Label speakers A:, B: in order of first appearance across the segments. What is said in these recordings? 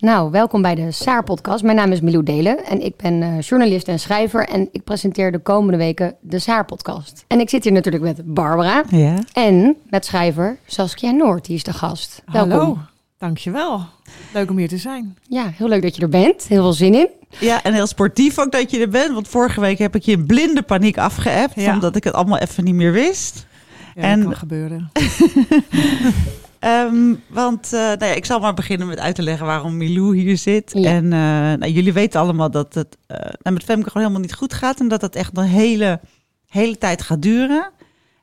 A: Nou, welkom bij de Saar-podcast. Mijn naam is Milou Delen en ik ben eh, journalist en schrijver. En ik presenteer de komende weken de Saar-podcast. En ik zit hier natuurlijk met Barbara
B: Ja.
A: en met schrijver Saskia Noord. Die is de gast.
B: Hallo,
A: Welkom.
B: dankjewel. Leuk om hier te zijn.
A: Ja, heel leuk dat je er bent. Heel veel zin in.
C: Ja, en heel sportief ook dat je er bent. Want vorige week heb ik je in blinde paniek afgeappt.
B: Ja.
C: Omdat ik het allemaal even niet meer wist.
B: Ja,
C: En-
B: dat kan gebeuren.
C: Ehm, want eh, nou ja, ik zal maar beginnen met uit te leggen waarom Milou hier zit.
A: Ja.
C: En eh, nou, jullie weten allemaal dat het eh, nou, met Femke gewoon helemaal niet goed gaat. En dat dat echt een hele, hele tijd gaat duren.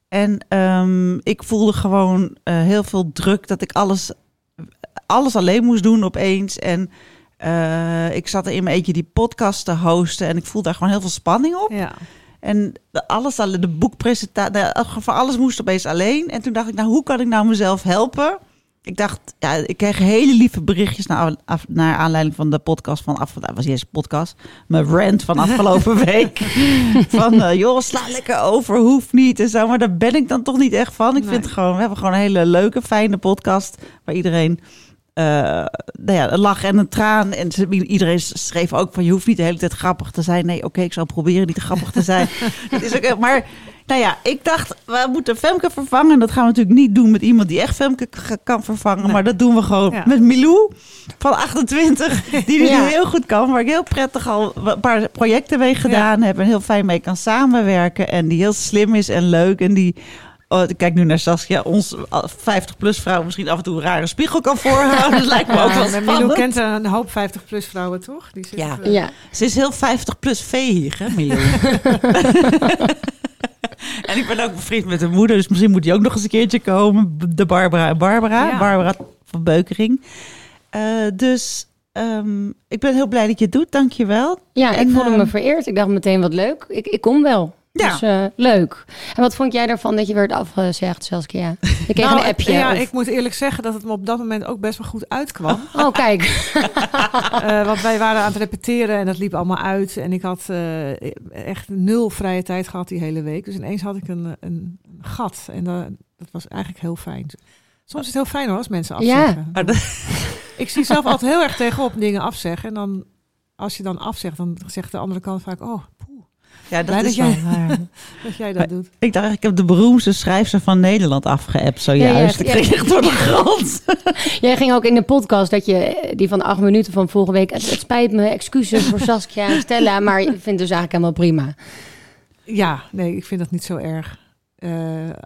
C: En ehm, ik voelde gewoon eh, heel veel druk dat ik alles, alles alleen moest doen opeens. En eh, ik zat er in mijn eentje die podcast te hosten. En ik voelde daar gewoon heel veel spanning op.
B: Ja.
C: En de- alles, alle- de boekpresentatie, nou, in elk geval alles moest opeens alleen. En toen dacht ik, nou, hoe kan ik nou mezelf helpen? Ik dacht, ja, ik kreeg hele lieve berichtjes naar, af- naar aanleiding van de podcast van af, dat was niet eens een podcast, mijn rant van afgelopen week. Van, eh, joh, sla lekker over, hoeft niet en zo. Maar daar ben ik dan toch niet echt van. Ik
B: Nee.
C: vind het gewoon, we hebben gewoon een hele leuke, fijne podcast waar iedereen eh, nou ja, een lach en een traan. En ze- iedereen schreef ook van je hoeft niet de hele tijd grappig te zijn. Nee, oké, ik zal proberen niet grappig te zijn. dat is ook, heel- maar nou ja, ik dacht, we moeten Femke vervangen. En dat gaan we natuurlijk niet doen met iemand die echt Femke k- kan vervangen. Maar dat doen we gewoon
B: Ja.
C: met Milou van 28. Die dus
A: Ja.
C: nu heel goed kan. Waar ik heel prettig al een paar projecten mee gedaan heb. En heel fijn mee kan samenwerken. En die heel slim is en leuk. En die Oh, ik kijk nu naar Saskia. Ons 50-plus vrouw misschien af en toe een rare spiegel kan voorhouden. Dat lijkt me ook wel
B: Maar Milou
C: spannend.
B: kent een hoop 50-plus vrouwen, toch? Die zitten,
C: Ja.
B: eh,
A: Ja,
C: Ze is heel 50-plus veeg, hè Milou? en ik ben ook bevriend met haar moeder. Dus misschien moet die ook nog eens een keertje komen. De Barbara en Barbara.
B: Ja.
C: Barbara van Beukering. Eh, dus ehm, ik ben heel blij dat je het doet. Dank je wel.
A: ja ik
C: En,
A: voelde
B: eh,
C: ehm,
A: me vereerd. Ik dacht meteen wat leuk. Ik, ik kom wel.
C: Ja.
A: Dus eh, leuk. En wat vond jij ervan dat je werd afgezegd, Saskia? Ik kreeg
B: nou,
A: een appje.
B: Ja,
A: of-
B: ik moet eerlijk zeggen dat het me op dat moment ook best wel goed uitkwam.
A: Oh, kijk.
B: Eh, want wij waren aan het repeteren en dat liep allemaal uit. En ik had eh, echt nul vrije tijd gehad die hele week. Dus ineens had ik een, een gat. En dat, dat was eigenlijk heel fijn. Soms is het heel fijn hoor, als mensen
A: Ja.
B: afzeggen.
C: Maar Ah, dat-
B: Ik zie zelf altijd heel erg tegenop dingen afzeggen. En dan, als je dan afzegt, dan zegt de andere kant vaak... Oh, poeh,
C: ja,
B: Blij dat
C: wel
B: jij-
C: waar.
B: dat jij dat doet.
C: Ik dacht, ik heb de beroemdste schrijfster van Nederland afgeappt zojuist.
A: Ja, ja,
C: Oh, ik kreeg echt door de grond.
A: Jij ging ook in de podcast dat je eh, die van acht minuten van vorige week. Het, het spijt me, excuses voor Saskia en Stella, maar ik vind het dus eigenlijk helemaal prima.
B: Ja, nee, ik vind dat niet zo erg eh,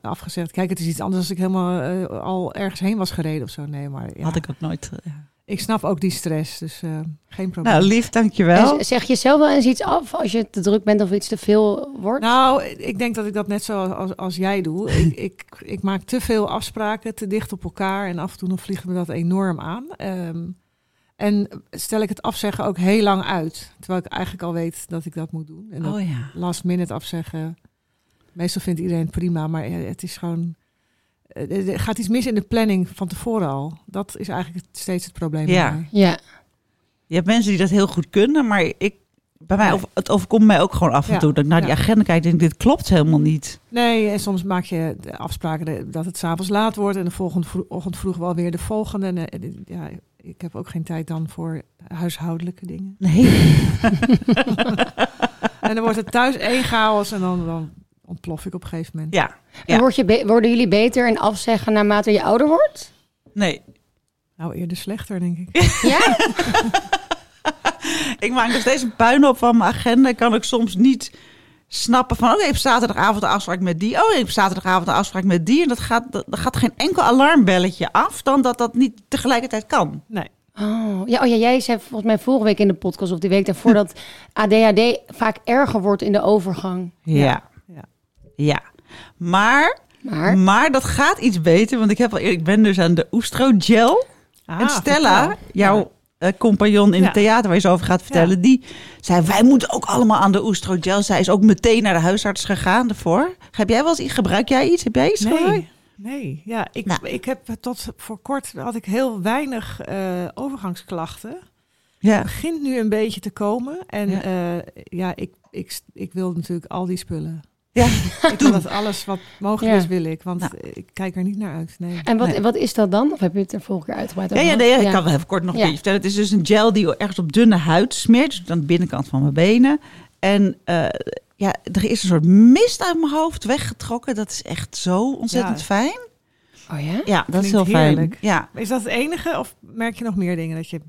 B: afgezegd. Kijk, het is iets anders als ik helemaal eh, al ergens heen was gereden of zo. Nee, maar ja.
C: Had
B: ik...
C: ik ook nooit. eh,
B: snap ook die stress, dus eh, geen probleem.
C: Nou,
B: Nou,
C: lief, dankjewel.
A: En z- zeg je zelf wel eens iets af als je te druk bent of iets te veel wordt?
C: Nou.
B: Nou, ik denk dat ik dat net zo als, als jij doe. ik, ik, ik maak te veel afspraken, te dicht op elkaar. En af en toe dan vliegt me dat enorm aan. Ehm, en stel ik het afzeggen ook heel lang uit. Terwijl ik eigenlijk al weet dat ik dat moet doen. En dat
C: oh ja.
B: last minute afzeggen. Meestal vindt iedereen het prima, maar eh, het is gewoon. eh, Er gaat iets mis in de planning van tevoren al. Dat is eigenlijk het- steeds het probleem. bij
C: Ja.
B: mij.
A: Ja,
C: Je hebt mensen die dat heel goed kunnen, maar ik, bij mij
B: Nee.
C: over, het overkomt mij ook gewoon af en
B: Ja,
C: toe. Dat ik naar die
B: ja.
C: agenda kijk en denk, dit klopt helemaal niet.
B: Nee, en soms maak je de afspraken de- dat het s'avonds laat wordt en de volgende vro- ochtend vroeg wel weer de volgende. En, eh, en, ja, ik heb ook geen tijd dan voor huishoudelijke dingen.
C: Nee.
B: En dan wordt het thuis één chaos en dan, dan ontplof ik op een gegeven moment.
C: Ja. Ja.
A: En word je be- worden jullie beter in afzeggen naarmate je ouder wordt?
C: Nee.
B: Nou, eerder slechter, denk ik.
A: Ja?
C: Ik maak nog steeds een puin op van mijn agenda. Ik kan ook soms niet snappen van, oh, ik heb zaterdagavond een afspraak met die. Oh, ik heb zaterdagavond een afspraak met die. En dat gaat, dat, dat gaat geen enkel alarmbelletje af dan dat dat niet tegelijkertijd kan.
B: Nee.
A: Oh, ja, oh ja, jij zei volgens mij vorige week in de podcast of die week daarvoor dat ADHD vaak erger wordt in de overgang.
C: Ja.
B: Ja.
C: Ja. Maar
A: Maar
C: Maar dat gaat iets beter, want ik, heb al, eer- ik ben dus aan de Oestro Gel.
B: Ah,
C: en Stella,
B: vertel.
C: jouw eh, compagnon in
B: Ja.
C: het theater waar je zo over gaat vertellen, die zei: Wij moeten ook allemaal aan de oestrogel. Zij is ook meteen naar de huisarts gegaan ervoor. Heb jij wel eens, gebruik jij iets? Heb jij iets? gebruikt?
B: Nee, nee. Ja, ik,
C: Nou.
B: ik heb tot voor kort had ik heel weinig eh, overgangsklachten.
C: Ja.
B: begint nu een beetje te komen. En
C: Ja.
B: ja, ja ik, ik, ik wil natuurlijk al die spullen.
C: Ja.
B: Ik wil dat alles wat mogelijk
A: Ja.
B: is, wil ik. Want
C: Nou.
B: ik kijk er niet naar uit. Nee.
A: En wat,
C: Nee.
A: wat is dat dan? Of heb je het er vorige keer uitgebreid
C: Ja,
A: over
C: ja,
A: gehad?
C: nee, ik kan wel even kort nog een
A: Ja.
C: beetje vertellen. Het is dus een gel die je ergens op dunne huid smeert. Dus aan de binnenkant van mijn benen. En eh, ja, er is een soort mist uit mijn hoofd weggetrokken. Dat is echt zo ontzettend
B: Ja.
C: fijn.
A: Oh ja?
C: Ja, dat is heel
B: Klinkt
C: fijn.
B: heerlijk.
C: Ja.
B: Is dat het enige? Of merk je nog meer dingen dat je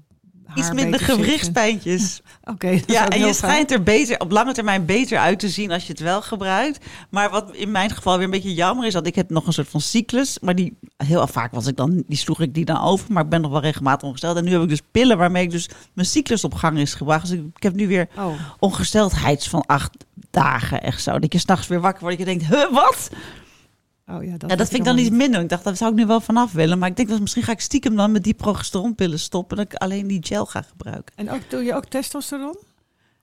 B: haar
C: Iets minder
B: beter zit?
C: gewrichtspijntjes.
B: Oké, dat is
C: Ja,
B: ook
C: en
B: heel
C: je
B: fijn.
C: schijnt er beter, op lange termijn beter uit te zien als je het wel gebruikt. Maar wat in mijn geval weer een beetje jammer is, dat ik heb nog een soort van cyclus. Maar die heel vaak was ik dan, die sloeg ik die dan over. Maar ik ben nog wel regelmatig ongesteld. En nu heb ik dus pillen waarmee ik dus mijn cyclus op gang is gebracht. Dus ik, ik heb nu weer
B: Oh,
C: ongesteldheid van acht dagen. Echt zo. Dat je s'nachts weer wakker wordt. Dat je denkt, huh, wat?
B: oh ja, dat,
C: ja,
B: weet
C: dat vind ik dan iets
B: allemaal
C: minder. Ik dacht, dat zou ik nu wel vanaf willen. Maar ik denk, dat misschien ga ik stiekem dan met die progesteronpillen stoppen. Dat ik alleen die gel ga gebruiken.
B: En ook, doe je ook testosteron?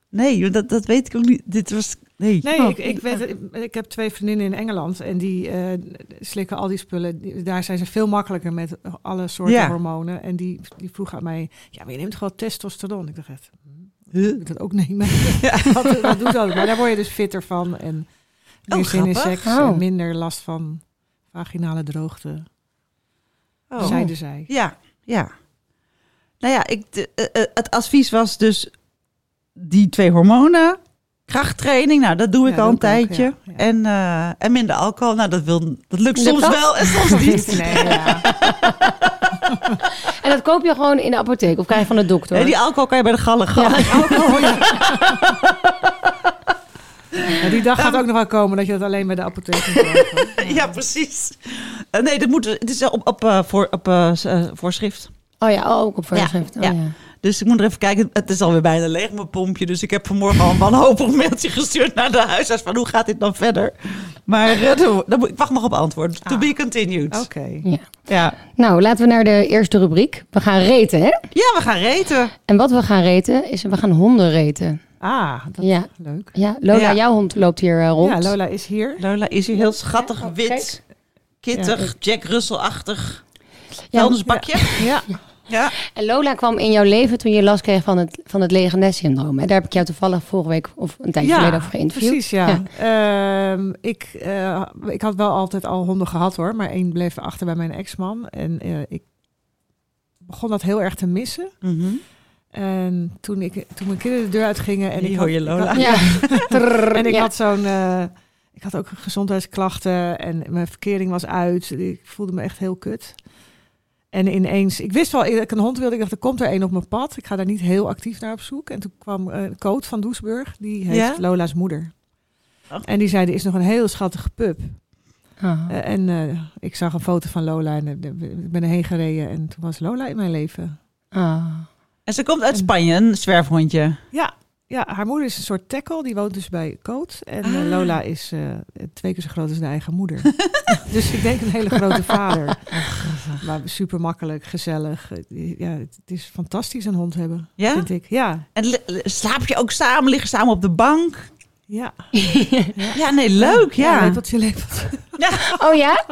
C: Nee, joh, dat, dat weet ik ook niet. Dit was. Nee.
B: Nee,
A: Oh.
B: ik, ik, weet, ik, ik heb twee vriendinnen in Engeland en die eh, slikken al die spullen. Die- Daar zijn ze veel makkelijker met alle soorten
C: Ja.
B: hormonen. En die, die vroeg aan mij, ja, maar je neemt gewoon testosteron. Ik dacht echt,
C: Huh?
B: moet ik dat ook nemen? wat, wat doet dat? Maar daar word je dus fitter van en meer
C: Oh,
B: zin in
C: grappig.
B: seks
A: Oh.
B: en minder last van vaginale droogte, zeiden zij.
C: Oh. Ja, ja. Nou ja, ik, de- eh, eh, het advies was dus die twee hormonen. Krachttraining, nou dat doe ik
B: Ja,
C: al een
B: dat doe ik ook,
C: tijdje.
B: ja, ja.
C: En, eh, en minder alcohol, nou dat, wil, dat lukt soms
A: dat?
C: wel en soms niet.
B: Nee, ja.
A: En dat koop je gewoon in de apotheek of krijg je van de dokter? Oh,
C: Nee, die alcohol kan je bij de gallen gaan.
B: Alcohol, ja. Ja, die dag gaat
C: Nou.
B: ook nog wel komen dat je dat alleen bij de apotheek moet kopen.
C: Ja, precies. Eh, nee, dat moet, het is op, op, eh, voor, op eh, s- eh, voorschrift.
A: Oh ja, oh, ook op voorschrift.
C: Ja,
A: Oh, ja.
C: ja. Dus ik moet er even kijken. Het is alweer bijna leeg, mijn pompje. Dus ik heb vanmorgen al een wanhopig mailtje gestuurd naar de huisarts. Van hoe gaat dit dan verder? Maar eh, dat- dat moet- ik wacht nog op antwoord. To be continued.
B: Oké.
A: Ja.
C: Ja.
A: Nou, laten we naar de eerste rubriek. We gaan reten, hè?
C: ja, we gaan reten.
A: En wat we gaan reten is, we gaan honden reten.
B: Ah, dat
A: Ja.
B: is leuk.
A: Ja, Lola,
C: Ja.
A: jouw hond loopt hier eh, rond.
B: Ja, Lola is hier.
C: Lola is hier heel schattig,
A: oh,
C: wit,
A: kijk.
C: kittig, Jack Russell-achtig.
A: Ja,
C: Vuilnisbakje.
B: Ja,
C: Ja.
A: En Lola kwam in jouw leven toen je last kreeg van het, van het lege nestsyndroom. En daar heb ik jou toevallig vorige week of een tijdje geleden over geïnterviewd.
B: precies, ja. Ehm, ik, eh, ik had wel altijd al honden gehad hoor, maar één bleef achter bij mijn ex-man. En eh, ik begon dat heel erg te missen.
C: Mhm.
B: En toen, ik, toen mijn kinderen de deur uitgingen... En
C: Die
B: ik
C: hoor
B: had-
C: je,
B: ik
C: Lola.
B: had-
A: Ja. Trrr,
B: En ik
A: ja.
B: had zo'n... eh, ik had ook gezondheidsklachten en mijn verkering was uit. Ik voelde me echt heel kut. En ineens, ik wist wel dat ik een hond wilde. Ik dacht, er komt er een op mijn pad. Ik ga daar niet heel actief naar op zoek. En toen kwam eh Coot van Doesburg. Die heeft
C: Ja?
B: Lola's moeder.
C: Ach.
B: En die zei, er is nog een heel schattige pup.
A: Ah.
B: Eh, en eh, ik zag een foto van Lola en eh, ik ben erheen gereden. En toen was Lola in mijn leven.
A: Ah.
C: En ze komt uit Spanje, een zwerfhondje.
B: Ja, ja haar moeder is een soort tackle. Die woont dus bij Coot. En eh,
C: Ah.
B: Lola is eh, twee keer zo groot als de eigen moeder. dus ik denk een hele grote vader. maar super makkelijk, gezellig. Eh, Ja, het is fantastisch een hond hebben,
C: Ja?
B: vind ik. Ja,
C: En li- li- slaap je ook samen, liggen samen op de bank?
B: ja.
C: Ja, nee, leuk, ja. Nou,
B: Lepeltje, lepeltje.
A: Oh ja?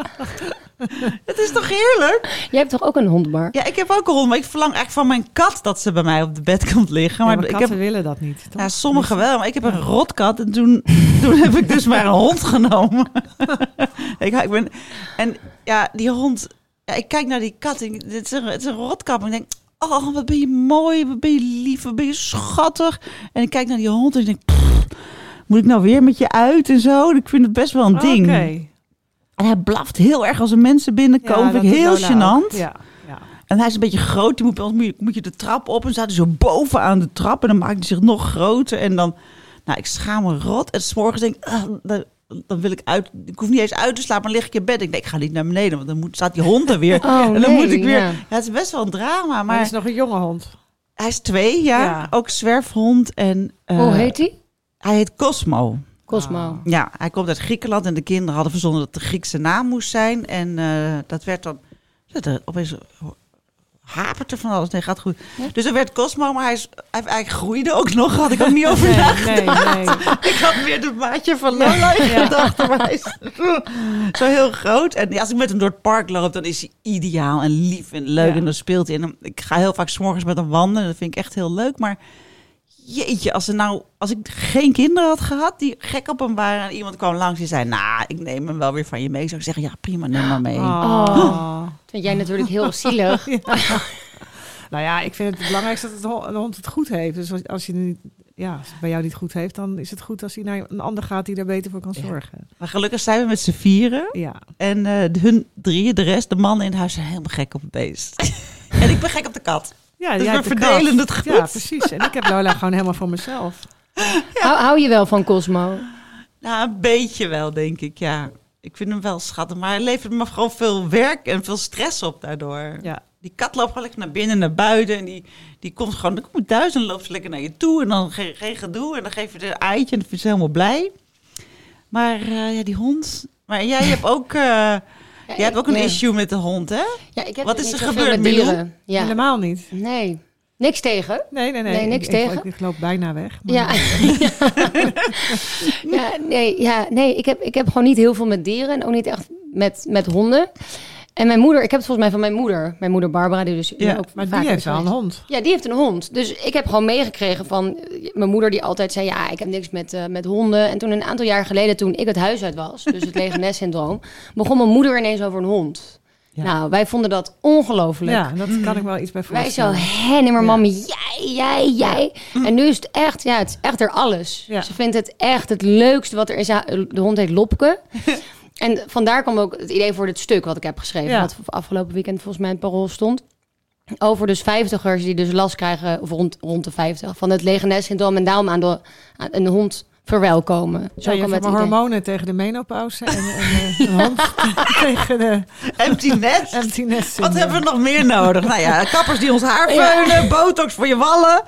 C: Het is toch heerlijk?
A: Jij hebt toch ook een hondbar?
C: Ja, ik heb ook een hond, maar ik verlang echt van mijn kat dat ze bij mij op de bed komt liggen.
B: Ja,
C: Maar,
B: maar
C: ik
B: katten
C: heb,
B: willen dat niet, toch?
C: ja, sommigen wel, maar ik heb een rotkat en toen, toen heb ik dus maar een hond genomen. ik, ik ben, en ja, die hond, ja, ik kijk naar die kat, en ik- het is een, het is een rotkat, maar ik denk, oh, wat ben je mooi, wat ben je lief, wat ben je schattig. En ik kijk naar die hond en ik denk, pff, moet ik nou weer met je uit en zo? Ik vind het best wel een ding.
B: Oh, Oké.
C: En hij blaft heel erg als er mensen
B: Ja,
C: binnenkomen.
B: dat
C: vind ik
B: doet
C: heel
B: Lola ook.
C: gênant.
B: Ja, ja.
C: En hij is een beetje groot. Die moet, bij ons- moet, je, moet je de trap op. En staat hij zo boven aan de trap. En dan maakt hij zich nog groter. En dan, nou, ik schaam me rot. En 's morgens denk ik, ah, dan, dan wil ik uit. Ik hoef niet eens uit te slapen. Maar lig ik in bed. Ik denk, ik ga niet naar beneden. Want dan moet, staat die hond er weer.
A: Oh,
C: en dan
A: nee,
C: moet ik weer.
A: ja.
C: Ja. het is best wel een drama.
B: Maar
C: Maar
B: het is nog een jonge hond.
C: hij is twee jaar.
B: Ja.
C: Ook zwerfhond. En, eh,
A: Hoe heet die?
C: Hij heet Cosmo.
A: Cosmo.
C: Ja, hij komt uit Griekenland en de kinderen hadden verzonnen dat het de Griekse naam moest zijn. En eh, dat werd dan. dat, eh, opeens hapert er van alles. Nee, gaat goed. Dus er werd Cosmo, maar hij, is, hij, hij groeide ook nog. Had ik ook niet over nagedacht.
B: nee, nee.
C: Ik had weer het maatje van Lola in gedachten. maar hij is Zo heel groot. En ja, als ik met hem door het park loop, dan is hij ideaal en lief en leuk.
B: Ja.
C: En dan speelt hij. En dan- ik ga heel vaak 's morgens met hem wandelen. Dat vind ik echt heel leuk. Maar jeetje, als, er nou, als ik geen kinderen had gehad die gek op hem waren. En iemand kwam langs die zei, nou, ik neem hem wel weer van je mee. Zou ik zeggen, ja prima, neem maar mee.
B: Oh.
A: Dat vind jij natuurlijk heel zielig.
B: Nou ja, ik vind het belangrijkste dat het ho- een hond het goed heeft. Dus als, als je nu, ja, als het bij jou niet goed heeft, dan is het goed als hij naar een ander gaat die daar beter voor kan
C: Ja.
B: zorgen.
C: Maar gelukkig zijn we met z'n vieren.
B: Ja.
C: En eh, hun drieën, de rest, de mannen in huis zijn helemaal gek op het beest. en ik ben gek op de kat.
B: Ja,
C: Dus
B: jij
C: we
B: hebt de
C: verdelen
B: kat.
C: het goed.
B: Ja, precies. En ik heb Lola gewoon helemaal voor mezelf.
A: Hou, hou je wel van Cosmo?
C: Nou, een beetje wel, denk ik, ja. Ik vind hem wel schattig, maar hij levert me gewoon veel werk en veel stress op daardoor.
B: Ja.
C: Die kat loopt gewoon lekker naar binnen, naar buiten. En die, die komt gewoon, dan komt thuis en loopt ze lekker naar je toe. En dan geen, geen gedoe. En dan geef je er een eitje en dan vind je ze helemaal blij. Maar eh, ja, die hond. Maar jij hebt ook, eh, jij hebt ook een
A: ik, eh,
C: issue met de hond, hè?
A: Ja, ik heb
C: Wat
A: dus
C: is
A: niet
C: er
A: zoveel
C: gebeurd,
A: met
C: Milou? Hmm.
A: dieren. Ja.
B: Helemaal niet.
A: Nee, niks tegen.
B: Nee, nee, nee.
A: Nee, niks
B: Ik- ik-
A: tegen.
B: Ik, ik loop bijna weg. maar-
A: Ja. ja, nee, ja, nee ik, heb, ik heb gewoon niet heel veel met dieren en ook niet echt met, met honden. En mijn moeder, ik heb het volgens mij van mijn moeder, mijn moeder Barbara, die dus
C: Ja,
A: ook
B: Maar
A: vaak
B: die
A: is
B: heeft wel een
A: geweest.
B: hond.
A: Ja, die heeft een hond. Dus ik heb gewoon meegekregen van eh, mijn moeder die altijd zei... ja, ik heb niks met, eh, met honden. En toen een aantal jaar geleden, toen ik het huis uit was... dus het lege nest syndroom... begon mijn moeder ineens over een hond.
B: Ja.
A: Nou, wij vonden dat ongelooflijk.
B: Ja, dat kan ik wel iets bij
A: Mhm. Wij zo,
B: voorstellen.
A: hè, nee, maar mami, jij, jij, jij. En nu is het echt, ja, het is echt er alles.
B: Mm. Ja.
A: Ze vindt het echt het leukste wat er is. Ja, De hond heet Lopke. en vandaar kwam ook het idee voor dit stuk wat ik heb geschreven.
B: Ja.
A: Wat afgelopen weekend volgens mij in het parool stond. Over dus vijftigers die dus last krijgen, of rond, rond de vijftig, van het legenes syndroom. En daarom aan, de, aan een hond verwelkomen.
B: Zo je
A: kwam
B: hebt
A: het
B: maar
A: idee.
B: hormonen tegen de menopauze en, en eh, een hond tegen de
C: Empty nest.
B: empty nest
C: Wat
B: syndroom.
C: hebben we nog meer nodig? Nou ja, kappers die ons haar veulen, botox voor je wallen.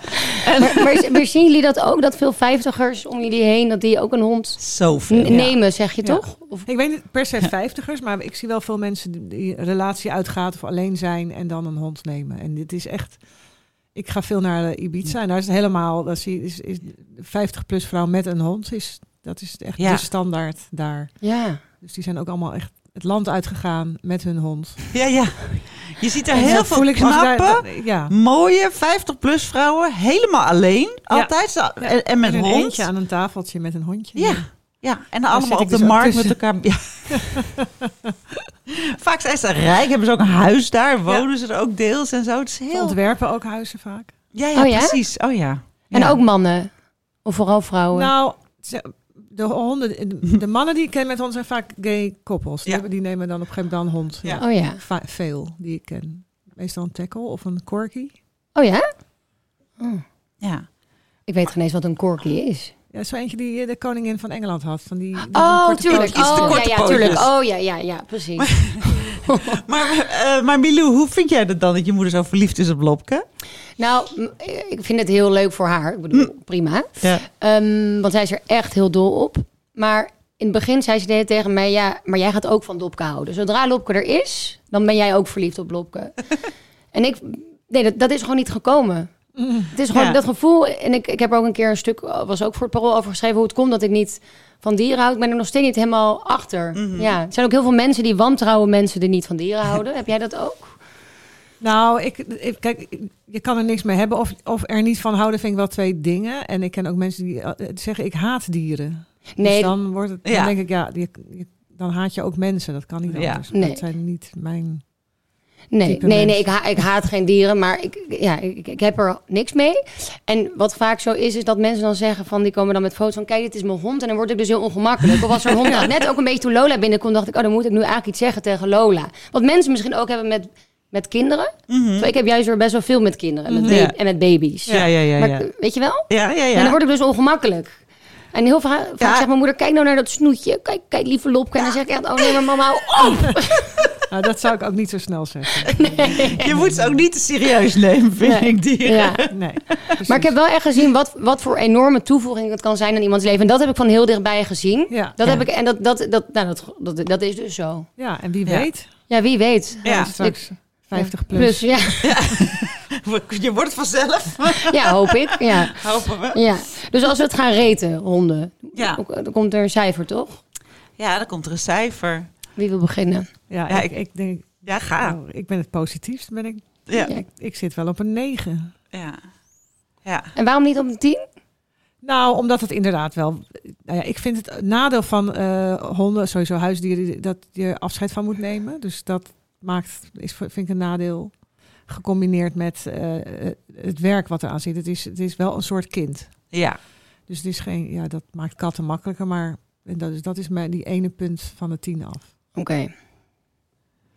A: Maar, maar, maar zien jullie dat ook? Dat veel vijftigers om jullie heen, dat die ook een hond
C: Zoveel.
A: n- nemen, zeg je
B: Ja.
A: toch? Of
B: Ik weet niet per se vijftigers, maar ik zie wel veel mensen die- die een relatie uitgaat of alleen zijn en dan een hond nemen. En dit is echt. Ik ga veel naar eh, Ibiza en daar is het helemaal. Daar zie je- is, is 50 plus vrouw met een hond is dat is echt
C: Ja.
B: de standaard daar.
A: Ja.
B: Dus die zijn ook allemaal echt het land uitgegaan met hun hond.
C: Ja, ja. Je ziet er
B: En
C: heel
B: dat
C: veel
B: voel ik- als ik
C: knappe,
B: daar- dat- ja.
C: mooie 50-plus vrouwen. Helemaal alleen. Altijd. zo- En, en met
B: een
C: hond.
B: eentje aan een tafeltje met een hondje.
C: Ja. Ja, en dan
B: zit
C: allemaal
B: ik
C: op de
B: dus ook
C: markt met
B: tussen.
C: elkaar. Ja. Vaak zijn ze rijk, hebben ze ook een huis daar, wonen ze er ook deels en zo. Het is
B: Ze
C: heel...
B: ontwerpen ook huizen vaak.
C: Ja, ja,
A: Oh ja?
C: precies. Oh ja.
A: En
C: Ja.
A: ook mannen. Of vooral vrouwen.
B: Nou, ze- de honden, de- de mannen die ik ken met honden zijn vaak gay koppels. Die,
C: Ja.
B: hebben- die nemen dan op een gegeven moment dan een hond.
C: Ja.
A: oh ja.
B: Va- veel die ik ken. Meestal een tackle of een corky.
A: Oh ja? Oh.
C: Ja.
A: Ik weet geen eens wat een corky is.
B: Ja, zo eentje die eh, de koningin van Engeland had. Van die, die
A: Oh,
B: korte
A: tuurlijk.
C: pootjes. Iets te
A: Oh, ja,
C: korte
A: ja, tuurlijk.
C: pootjes.
A: Oh ja, ja, ja, precies.
C: Maar, eh, maar Milou, hoe vind jij het dan dat je moeder zo verliefd is op Lopke?
A: nou, m- ik vind het heel leuk voor haar. Ik bedoel, prima.
C: Hm. Ja.
A: Ehm, want zij is er echt heel dol op. Maar in het begin zei ze de hele tijd tegen mij... ja, maar jij gaat ook van Lopke houden. Zodra Lopke er is, dan ben jij ook verliefd op Lopke. en ik... Nee, dat, dat is gewoon niet gekomen. Het is gewoon
C: Ja.
A: dat gevoel. En ik, ik heb er ook een keer een stuk... was ook voor het parool over geschreven... hoe het komt dat ik niet van dieren hou. Ik ben er nog steeds niet helemaal achter.
B: Mhm.
A: Ja, er zijn ook heel veel mensen die wantrouwen mensen... die niet van dieren houden. Heb jij dat ook?
B: Nou, ik, ik- kijk, ik- je kan er niks mee hebben. Of, of er niet van houden vind ik wel twee dingen. En ik ken ook mensen die eh, zeggen ik haat dieren.
A: Nee,
B: Dus dan, wordt het, dan
C: Ja.
B: denk ik, ja, je- je- dan haat je ook mensen. Dat kan niet
C: Ja.
B: anders.
A: Nee.
B: Dat zijn niet mijn...
A: Nee,
B: type
A: nee, nee
B: mens.
A: ik, ha- ik haat geen dieren, maar ik, ja, ik, ik heb er niks mee. En wat vaak zo is, is dat mensen dan zeggen van... die komen dan met foto's van, kijk, dit is mijn hond. En dan word ik dus heel ongemakkelijk. Of als er een hond gaat. Net ook een beetje toen Lola binnenkwam, dacht ik... oh, dan moet ik nu eigenlijk iets zeggen tegen Lola. Wat mensen misschien ook hebben met, met kinderen. Terwijl Ik heb juist weer best wel veel met kinderen met
C: Mhm.
A: ba-
C: Ja.
A: en met baby's.
C: Ja, ja, ja.
A: Maar
C: ja.
A: weet je wel?
C: Ja, ja,
A: En dan
C: ja.
A: word ik dus ongemakkelijk. En heel vaak, vaak
C: Ja.
A: zegt mijn moeder, kijk nou naar dat snoetje. Kijk, kijk lieve Lopke. En dan zeg ik echt, oh nee, maar mama, hou op.
B: Nou, dat zou ik ook niet zo snel zeggen.
C: Je moet ze ook niet te serieus nemen, vind
A: Nee.
C: ik, dieren.
A: Ja.
B: Nee, precies.
A: Maar ik heb wel echt gezien wat, wat voor enorme toevoeging het kan zijn aan iemands leven. En dat heb ik van heel dichtbij gezien.
B: Ja.
A: Dat
C: Ja.
A: heb ik, en dat, dat, dat, nou, dat, dat, dat is dus zo.
B: ja, en wie
C: Ja.
B: weet.
A: Ja, wie weet.
C: Ja.
B: Straks 50 plus.
A: Plus, ja,
C: Je wordt vanzelf.
A: ja hoop ik. Ja.
C: Hopen we.
A: Ja. Dus als we het gaan reten, honden,
C: Ja.
A: ook- dan komt er een cijfer, toch?
C: ja, dan komt er een cijfer.
A: Wie wil beginnen?
B: Ja,
C: Ja,
B: ik,
C: ik-
B: ik denk,
C: Ja, ga.
B: nou, ik ben het positiefst. Ben ik,
C: Ja.
A: Ja.
B: ik zit wel op een 9.
C: Ja. ja.
A: En waarom niet op een tien?
B: Nou, omdat het inderdaad wel. Nou ja, ik vind het nadeel van eh, honden, sowieso huisdieren, dat je afscheid van moet nemen. Dus dat maakt, is, vind ik een nadeel. Gecombineerd met eh, het werk wat eraan zit. Het is, het is wel een soort kind.
C: ja.
B: Dus het is geen, ja, dat maakt katten makkelijker. Maar en dat is, dat is mijn, die ene punt van de tien af.
A: Oké.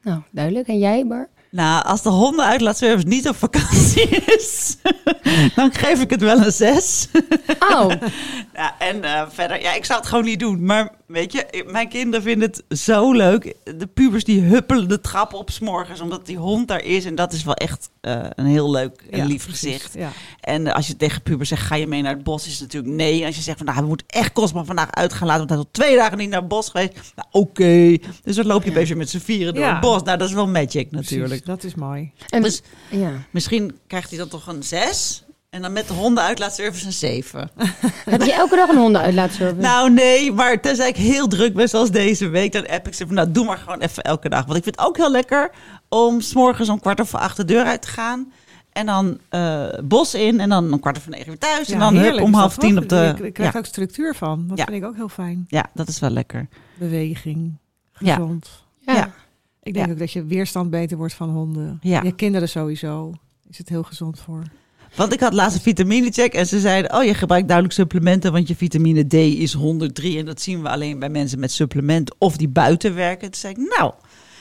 A: Nou, duidelijk. En jij, Bar?
C: Nou, als de hondenuitlaatservice niet op vakantie is, dan geef ik het wel een 6.
A: Oh,
C: Ja, en eh, verder, ja, ik zou het gewoon niet doen. Maar weet je, ik- mijn kinderen vinden het zo leuk. De pubers die huppelen de trap op 's morgens omdat die hond daar is. En dat is wel echt eh, een heel leuk en
B: Ja,
C: lief
B: precies.
C: gezicht.
B: Ja.
C: En eh, als je tegen pubers zegt, ga je mee naar het bos, is het natuurlijk nee. En als je zegt, van, nou, we moeten echt Cosmo vandaag uit gaan laten, want hij is al twee dagen niet naar het bos geweest. Nou, oké. Dus dan loop je bezig met z'n vieren door
B: Ja.
C: het bos. Nou, dat is wel magic natuurlijk.
B: Precies, dat is mooi.
A: en,
C: Dus
A: ja.
C: misschien krijgt hij dan toch een 6. En dan met de hondenuitlaatservice een 7.
A: Heb je elke dag een hondenuitlaatservice?
C: Nou, nee, maar tenzij ik heel druk ben, zoals deze week, dan app ik ze van, nou, doe maar gewoon even elke dag. Want ik vind het ook heel lekker om s'morgens om kwart over acht de deur uit te gaan. En dan eh, bos in en dan om kwart over negen weer thuis. en
B: Ja,
C: dan hup,
B: heerlijk
C: om
B: is dat
C: half tien
B: toch?
C: op de...
B: Ik, ik krijg
C: Ja,
B: er ook structuur van. Dat
C: Ja.
B: vind ik ook heel fijn.
C: ja, dat is wel lekker.
B: Beweging,
C: Ja.
B: gezond.
C: ja.
B: Ik denk
C: Ja.
B: ook dat je weerstand beter wordt van honden.
C: Ja.
B: Je kinderen sowieso is het heel gezond voor.
C: Want ik had laatst een vitaminecheck en ze zeiden, oh, je gebruikt duidelijk supplementen, want je vitamine D is 103. En dat zien we alleen bij mensen met supplementen of die buiten werken. Toen zei ik, nou,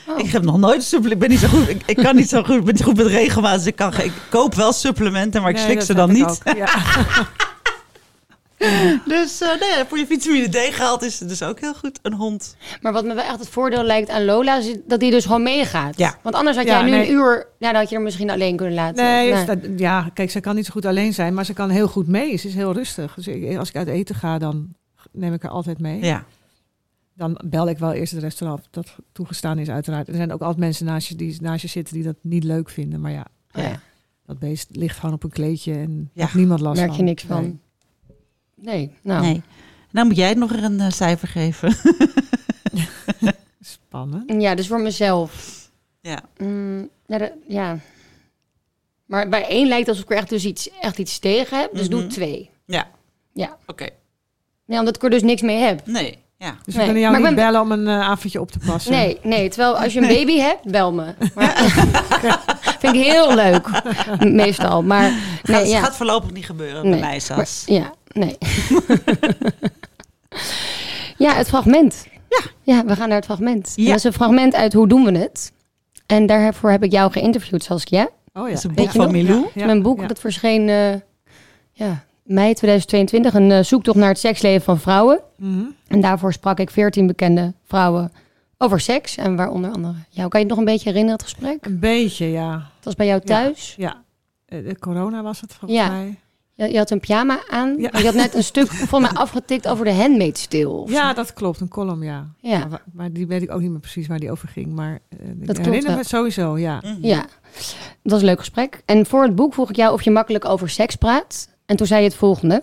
A: Oh.
C: Ik heb nog nooit supplementen. Ik ben niet zo goed. Ik, ik kan niet zo goed. Ik ben niet goed met regelmaat. Dus ik, kan, ge- ik koop wel supplementen, maar ik
B: Nee,
C: slik
B: dat
C: ze dan
B: heb ik
C: niet.
B: ook. Ja.
C: Dus eh, nee, voor je vitamine D gehaald is het dus ook heel goed. Een hond.
A: Maar wat me wel echt het voordeel lijkt aan Lola, is dat die dus gewoon meegaat.
C: Ja.
A: Want anders had
B: Ja,
A: jij nu
B: nee.
A: een uur, nou, dan had je er misschien alleen kunnen laten.
B: Nee,
A: Ja.
B: is dat- ja, kijk, ze kan niet zo goed alleen zijn, maar ze kan heel goed mee. Ze is heel rustig. Dus ik- als ik uit eten ga, dan neem ik haar altijd mee.
C: Ja.
B: Dan bel ik wel eerst het restaurant dat toegestaan is, uiteraard. Er zijn ook altijd mensen naast je, die naast je zitten die dat niet leuk vinden. Maar ja,
A: Oh ja,
B: dat beest ligt gewoon op een kleedje en
C: Ja,
B: heeft niemand last
A: merk
B: van.
A: je niks van.
B: Nee.
A: Nee, nou.
C: Nee. Nou moet jij het nog een eh, cijfer geven.
B: Spannend.
A: Ja, dus voor mezelf.
C: Ja.
A: Mm, ja, dat- ja. Maar bij één lijkt alsof ik er echt, dus iets, echt iets tegen heb. Dus doe
C: Mhm.
A: twee.
C: Ja.
A: Ja.
C: Oké.
A: Nee, omdat ik er dus niks mee heb.
C: Nee. Ja.
B: Dus
A: Nee,
B: we kunnen jou
A: maar ik
B: niet
A: ben-
B: bellen om een eh, avondje op te passen.
A: Nee, nee. Terwijl als je een baby hebt, bel me. Maar, vind ik heel leuk. Meestal. Maar
C: Nee,
A: nee,
C: gaat,
A: ja.
C: gaat voorlopig niet gebeuren bij
A: Nee,
C: mij, Sas.
A: Maar- ja, nee. ja, het fragment. Ja. ja, we gaan naar het fragment. En
C: Ja.
A: dat is een fragment uit Hoe doen we het? En daarvoor heb ik jou geïnterviewd, Saskia.
B: Oh ja.
C: Dat is een
B: Ja.
C: boek van
A: nog?
C: Milou.
B: Ja,
A: Mijn boek,
B: ja.
A: dat verscheen eh, ja, mei 2022. Een eh, zoektocht naar het seksleven van vrouwen.
B: Mhm.
A: En daarvoor sprak ik 14 bekende vrouwen over seks. En waaronder andere jou. Kan je het nog een beetje herinneren, het gesprek?
B: Een beetje, ja.
A: Het was bij jou thuis.
B: Ja, eh, de corona was het volgens
A: Ja.
B: mij.
A: Je, je had een pyjama aan.
B: Ja.
A: maar Je had net een stuk van mij afgetikt over de handmaid's Tale. of
B: Ja,
A: zo.
B: dat klopt, een column, ja.
A: ja.
B: Maar, wa- maar die weet ik ook niet meer precies waar die over ging. Maar eh, ik
A: klopt
B: herinner
A: wel.
B: me het sowieso, ja.
C: Mhm.
A: Ja, dat was een leuk gesprek. En voor het boek vroeg ik jou of je makkelijk over seks praat. En toen zei je het volgende.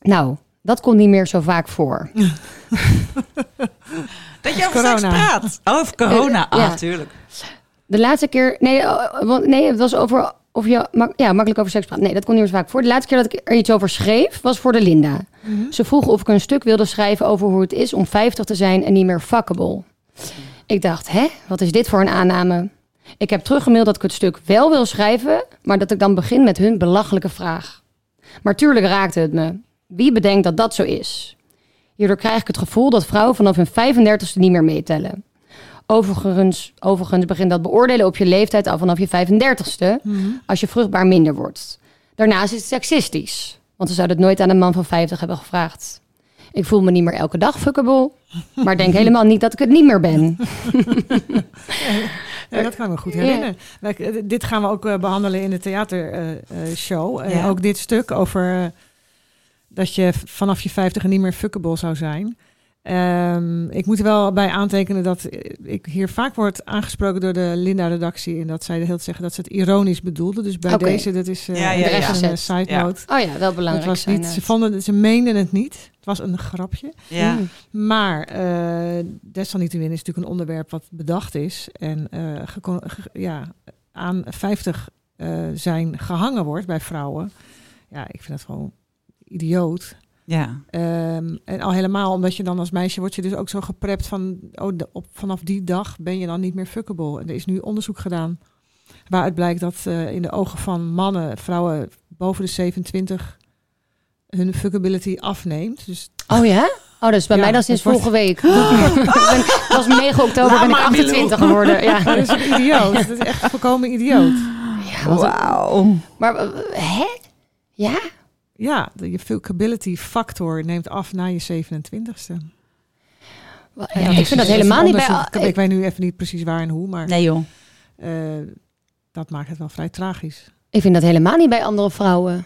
A: Nou, dat komt niet meer zo vaak voor.
C: Dat je over seks
B: Corona.
C: praat. Oh, over corona. Ah,
A: Eh, ja.
C: tuurlijk.
A: De laatste keer... Nee, oh, want- nee het was over of je mak- ja, makkelijk over seks praat. Nee, dat komt niet meer zo vaak voor. De laatste keer dat ik er iets over schreef, was voor de Linda. Ze vroeg of ik een stuk wilde schrijven over hoe het is om 50 te zijn en niet meer fuckable. Ik dacht, hè, wat is dit voor een aanname? Ik heb teruggemaild dat ik het stuk wel wil schrijven, maar dat ik dan begin met hun belachelijke vraag. Maar tuurlijk raakte het me. Wie bedenkt dat dat zo is? Hierdoor krijg ik het gevoel dat vrouwen vanaf hun 35ste niet meer meetellen. Overigens, overigens begint dat beoordelen op je leeftijd al vanaf je 35ste,
B: Mhm.
A: als je vruchtbaar minder wordt. Daarnaast is het seksistisch, want ze zouden het nooit aan een man van 50 hebben gevraagd. Ik voel me niet meer elke dag fuckable, maar denk helemaal niet dat ik het niet meer ben.
B: Ja, dat kan ik me goed herinneren. Wij- eh, dit gaan we ook eh, behandelen in de eh, theatershow.
C: Ja.
B: Eh, Ook eh, dit stuk over eh, dat je v- vanaf je vijftig niet meer fuckable zou zijn. Ehm, ik moet er wel bij aantekenen dat eh, ik hier vaak word aangesproken door de Linda-redactie. En dat zij de hele tijd zeggen dat ze het ironisch bedoelden. Dus bij
A: Oké.
B: deze, dat is eh
C: Ja, ja,
B: dat is
A: ja.
B: een eh,
A: Gezet.
B: side
C: Ja.
B: note.
A: Oh ja, wel
B: Het
A: belangrijk.
B: was
A: zijn,
B: niet,
A: eh.
B: ze, vonden, ze meenden het niet. Het was een grapje.
C: Ja.
A: Mm.
B: Maar eh, desalniettemin is het natuurlijk een onderwerp wat bedacht is en eh, gecon- ge- ja, aan 50 eh, zijn gehangen wordt bij vrouwen. Ja, ik vind dat gewoon idioot.
C: ja.
B: Ehm, en al helemaal omdat je dan als meisje wordt je dus ook zo geprept van oh, de- op, vanaf die dag ben je dan niet meer fuckable. En er is nu onderzoek gedaan waaruit blijkt dat eh, in de ogen van mannen vrouwen boven de 27 hun fuckability afneemt. Dus
A: Oh ja? Oh, dus bij
B: Ja,
A: mij dat is sinds
B: het wordt-
A: vorige week. Het was 9 oktober, ben ik 28 geworden. Ja.
B: dat is een idioot. Dat is echt volkomen idioot.
A: Ja, wat-
C: Wauw.
A: Maar eh, hè? Ja?
B: Ja, de, je fuckability factor neemt af na je 27ste.
A: Wa-
B: En
A: ja,
B: dat
A: ik
B: is-
A: vind dat
B: dat is
A: helemaal
B: een
A: niet bij...
B: onderzoek.
A: al-
B: Ik weet nu even niet precies waar en hoe, maar
C: Nee joh.
B: eh, dat maakt het wel vrij tragisch.
A: Ik vind dat helemaal niet bij andere vrouwen.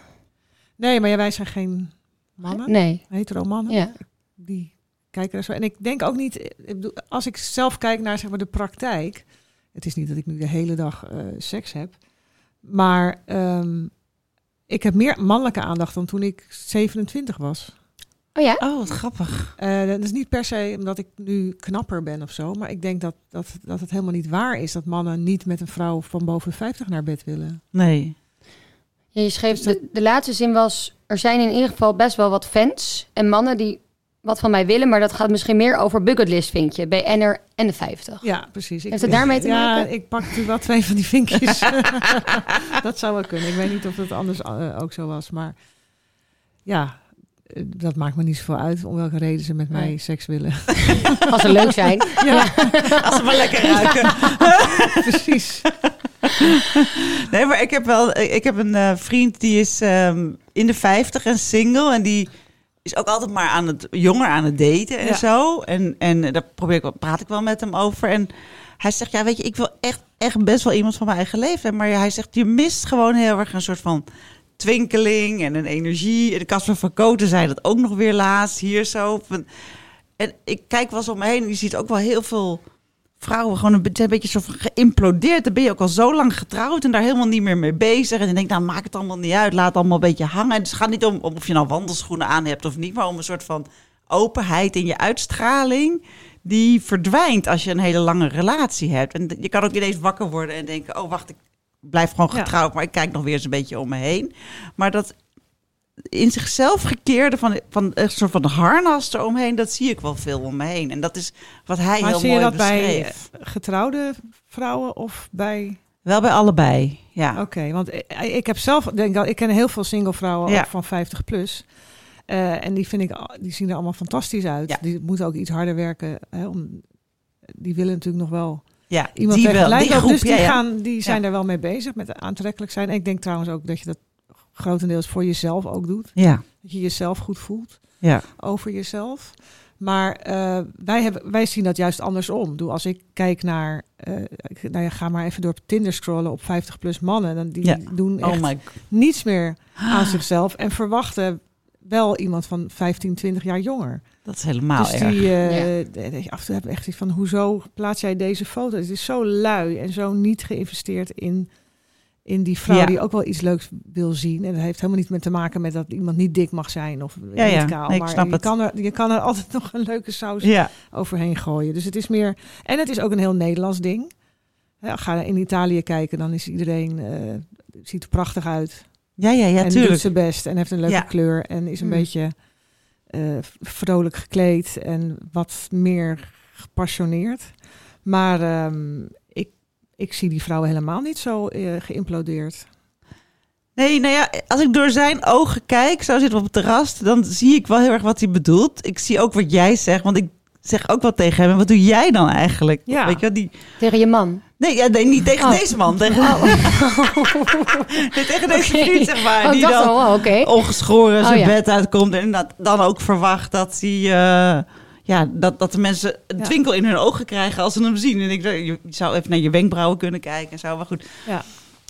B: Nee, maar ja, wij zijn geen mannen,
A: Nee.
B: hetero mannen.
A: Ja.
B: Die kijken er zo. En ik denk ook niet, eh, ik bedoel, als ik zelf kijk naar zeg maar, de praktijk. Het is niet dat ik nu de hele dag eh, seks heb. Maar ehm, ik heb meer mannelijke aandacht dan toen ik 27 was.
A: Oh ja?
C: Oh, wat grappig.
B: Eh, dat is niet per se omdat ik nu knapper ben of zo. Maar ik denk dat, dat, dat het helemaal niet waar is dat mannen niet met een vrouw van boven 50 naar bed willen.
C: Nee.
A: Ja, je schreef, de, de laatste zin was... Er zijn in ieder geval best wel wat fans en mannen die wat van mij willen... maar dat gaat misschien meer over bucketlist, vind je. BN'er en de 50.
B: Ja, precies. Ik,
A: Heeft het daarmee te
B: Ja,
A: maken?
B: ik pak natuurlijk wel twee van die vinkjes. dat zou wel kunnen. Ik weet niet of dat anders eh, ook zo was. Maar ja, eh, dat maakt me niet zoveel uit om welke reden ze met mij
A: Nee.
B: seks willen.
A: Als ze leuk zijn.
C: Als ze maar lekker ruiken.
B: precies.
C: Nee, maar ik heb wel. Ik heb een eh, vriend die is ehm, in de 50 en single. En die is ook altijd maar aan het jonger aan het daten en
B: Ja.
C: zo. En, en daar probeer ik wel, praat ik wel met hem over. En hij zegt: Ja, weet je, ik wil echt, echt best wel iemand van mijn eigen leeftijd. Maar hij zegt: Je mist gewoon heel erg een soort van twinkeling en een energie. En Casper van Koten zei dat ook nog weer laatst hier zo. Van- En ik kijk wel eens om me heen en je ziet ook wel heel veel vrouwen gewoon een, be- zijn een beetje zo van geïmplodeerd. Dan ben je ook al zo lang getrouwd en daar helemaal niet meer mee bezig. En dan denk ik, nou maakt het allemaal niet uit, laat het allemaal een beetje hangen. En het gaat niet om, om of je nou wandelschoenen aan hebt of niet, maar om een soort van openheid in je uitstraling. Die verdwijnt als je een hele lange relatie hebt. En je kan ook ineens wakker worden en denken, oh wacht, ik blijf gewoon
B: Ja.
C: getrouwd, maar ik kijk nog weer eens een beetje om me heen. Maar dat in zichzelf gekeerde van, van een soort van harnas eromheen, dat zie ik wel veel om me heen. En dat is wat hij
B: Maar
C: heel
B: zie
C: mooi
B: je dat bij
C: beschreef.
B: eh, getrouwde vrouwen of bij
C: Wel bij allebei, ja.
B: Oké, want i- ik heb zelf, denk ik, ik ken heel veel single vrouwen
C: Ja.
B: ook van 50 plus. Eh, en die vind ik, al- die zien er allemaal fantastisch uit.
C: Ja.
B: Die moeten ook iets harder werken. Hè, om, die willen natuurlijk nog wel
C: ja
B: iemand
C: die wel,
B: tegelijk
C: die groep,
B: Dus die,
C: ja, ja.
B: gaan, die zijn er wel mee bezig met aantrekkelijk zijn. En ik denk trouwens ook dat je dat grotendeels voor jezelf ook doet.
C: Ja,
B: Dat je jezelf goed voelt
C: ja.
B: over jezelf. Maar eh, wij, hebben, wij zien dat juist andersom. Doe als ik kijk naar, eh, ik- nou ja, ga maar even door op Tinder scrollen op 50 plus mannen, dan die
C: Ja.
B: doen echt
C: Oh my god.
B: niets meer aan zichzelf en verwachten wel iemand van 15, 20 jaar jonger.
C: Dat is helemaal
B: dus
C: Ah, erg.
B: die eh, de- de- af en toe heb ik echt iets van hoezo plaats jij deze foto? Het is zo lui en zo niet geïnvesteerd in in die vrouw
C: Ja.
B: die ook wel iets leuks wil zien. En dat heeft helemaal niet meer te maken met dat iemand niet dik mag zijn of
C: Ja,
B: niet
C: ja.
B: kaal.
C: Nee, ik
B: maar
C: snap
B: je
C: het.
B: kan er je kan er altijd nog een leuke saus
C: Ja,
B: overheen gooien. Dus het is meer. En het is ook een heel Nederlands ding. Hè, ga in Italië kijken, dan is iedereen eh, ziet er prachtig uit
C: ja, ja, ja
B: en doet
C: tuurlijk.
B: zijn best en heeft een leuke
C: Ja.
B: kleur en is een
A: Mm.
B: beetje eh, vrolijk gekleed en wat meer gepassioneerd. Maar ehm, ik, ik zie die vrouwen helemaal niet zo eh, geïmplodeerd.
C: Nee, nou ja, als ik door zijn ogen kijk, zo zitten we op het terras, dan zie ik wel heel erg wat hij bedoelt. Ik zie ook wat jij zegt, want ik zeg ook wat tegen hem. En wat doe jij dan eigenlijk?
B: Ja.
C: Weet je wel, die...
A: Tegen je man.
C: Nee, ja, nee, niet tegen
A: Oh.
C: deze man. Tegen, Nee, tegen deze
A: Oké.
C: vriend, zeg maar.
A: Oh,
C: die
A: dat
C: dan...
A: wel, oh, oké.
C: ongeschoren
A: Oh,
C: zijn
A: ja.
C: bed uitkomt. En dat dan ook verwacht dat hij... eh, ja, dat, dat de mensen een
B: Ja.
C: twinkel in hun ogen krijgen als ze hem zien. En ik dacht, je zou even naar je wenkbrauwen kunnen kijken en zo. Maar goed,
B: Ja.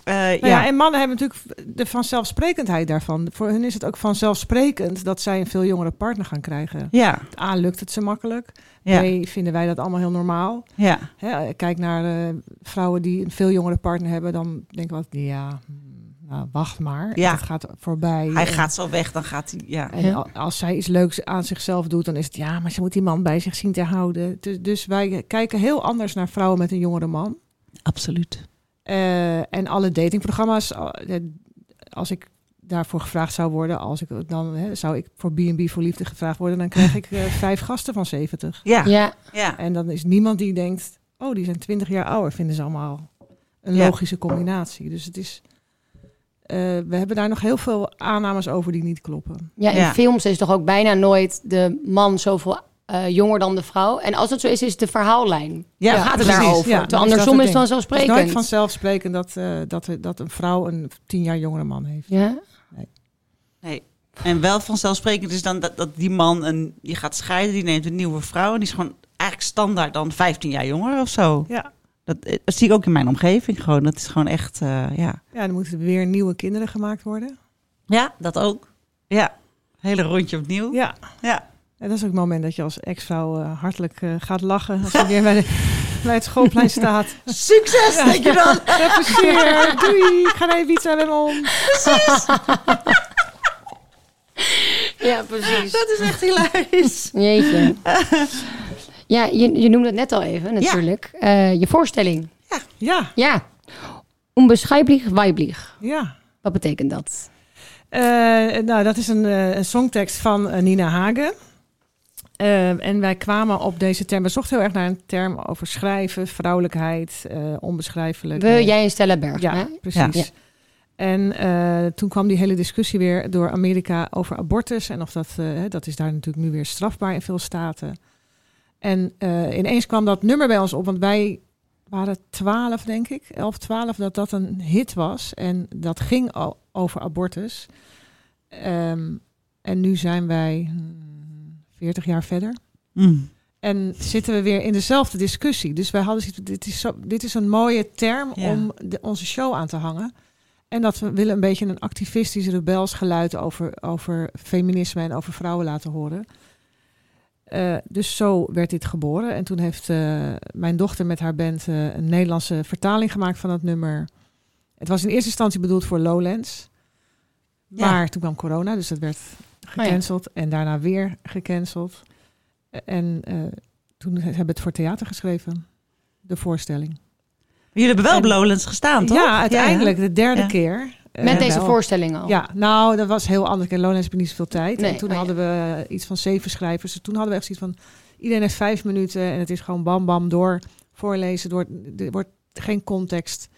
C: Eh,
B: Nou
C: ja.
B: ja, en mannen hebben natuurlijk de vanzelfsprekendheid daarvan. Voor hun is het ook vanzelfsprekend dat zij een veel jongere partner gaan krijgen.
C: ja,
B: A, lukt het ze makkelijk.
C: ja,
B: B, vinden wij dat allemaal heel normaal.
C: ja.
B: Hè, kijk naar eh, vrouwen die een veel jongere partner hebben. Dan denk ik wat, ja, hmm, nou, wacht maar.
C: Ja.
B: Het gaat voorbij.
C: Hij
B: En-
C: gaat zo weg, dan gaat hij. Ja,
B: En al- als zij iets leuks aan zichzelf doet, dan is het ja, maar ze moet die man bij zich zien te houden. Dus, dus wij kijken heel anders naar vrouwen met een jongere man.
C: absoluut.
B: Eh, en alle datingprogramma's, al- eh, als ik daarvoor gevraagd zou worden, als ik dan hè, zou ik voor B&B voor liefde gevraagd worden, dan krijg ik eh, vijf gasten van 70.
C: Ja, ja.
A: Ja,
B: En dan is niemand die denkt, oh, die zijn 20 jaar ouder, vinden ze allemaal een
C: Ja.
B: logische combinatie. Dus het is, eh, we hebben daar nog heel veel aannames over die niet kloppen.
A: ja in
C: Ja.
A: films is toch ook bijna nooit de man zoveel eh, jonger dan de vrouw. En als dat zo is, is het de verhaallijn.
C: Ja,
A: Dan gaat het
B: precies,
A: daarover.
B: ja.
A: Terwijl
B: Dus dat
A: andersom
B: het
A: is het
B: ding. Het is
A: vanzelfsprekend.
B: nooit vanzelfsprekend dat, eh, dat, er- dat een vrouw een tien jaar jongere man heeft.
A: Ja.
C: Nee. En wel vanzelfsprekend is dan dat, dat die man een, die gaat scheiden, die neemt een nieuwe vrouw en die is gewoon eigenlijk standaard dan 15 jaar jonger of zo.
B: Ja.
C: Dat, eh, dat zie ik ook in mijn omgeving gewoon. Dat is gewoon echt, eh, ja.
B: Ja, dan moeten weer nieuwe kinderen gemaakt worden.
C: Ja, dat ook. Ja, hele rondje opnieuw.
B: Ja.
C: Ja.
B: En dat is ook het moment dat je als ex-vrouw eh, hartelijk eh, gaat lachen als je weer bij, de- bij het schoolplein staat.
C: Succes, denk je dan?
B: Heb plezier, doei, ik ga even iets aan hem om.
A: ja, precies.
C: Dat is echt hilarisch.
A: Jeetje. Ja, je, je noemde het net al even natuurlijk. Eh, je voorstelling.
B: Ja,
A: Ja. Onbeschrijblich weiblich.
B: ja.
A: Wat betekent dat?
B: Eh, nou, dat is een, eh, een songtekst van eh, Nina Hagen. Eh, en wij kwamen op deze term. We zochten heel erg naar een term over schrijven, vrouwelijkheid, eh, onbeschrijfelijk.
A: We, jij en Stella Berg.
B: Ja, precies.
A: Ja.
B: En eh, toen kwam die hele discussie weer door Amerika over abortus. En of dat, eh, hè, dat is daar natuurlijk nu weer strafbaar in veel staten. En eh, ineens kwam dat nummer bij ons op, want wij waren 12, denk ik, 11, 12, dat dat een hit was. En dat ging al over abortus. Ehm, en nu zijn wij hmm, 40 jaar verder.
C: Mm.
B: En zitten we weer in dezelfde discussie. Dus wij hadden zoiets van, dit is, zo, dit is een mooie term
C: Ja.
B: om de, onze show aan te hangen. En dat we willen een beetje een activistisch rebels geluid over, over feminisme en over vrouwen laten horen. Eh, dus zo werd dit geboren. En toen heeft eh, mijn dochter met haar band eh, een Nederlandse vertaling gemaakt van dat nummer. Het was in eerste instantie bedoeld voor Lowlands.
C: Ja.
B: Maar toen kwam corona, dus dat werd
A: Oh
B: gecanceld. En daarna weer gecanceld. En eh, toen he- hebben we het voor theater geschreven. De voorstelling.
C: Jullie hebben wel op Lowlands gestaan, toch?
B: Ja, uiteindelijk. De derde
C: Ja.
B: keer. eh,
A: Met deze
B: wel.
A: voorstelling
C: Oh.
A: al.
B: Ja, nou, dat was heel anders. En Lowlands heb je niet zoveel tijd.
A: Nee,
B: en toen
A: oh ja.
B: hadden we eh, iets van zeven schrijvers. Dus toen hadden we echt zoiets van... Iedereen heeft vijf minuten en het is gewoon bam, bam, door. Voorlezen, door, er wordt geen context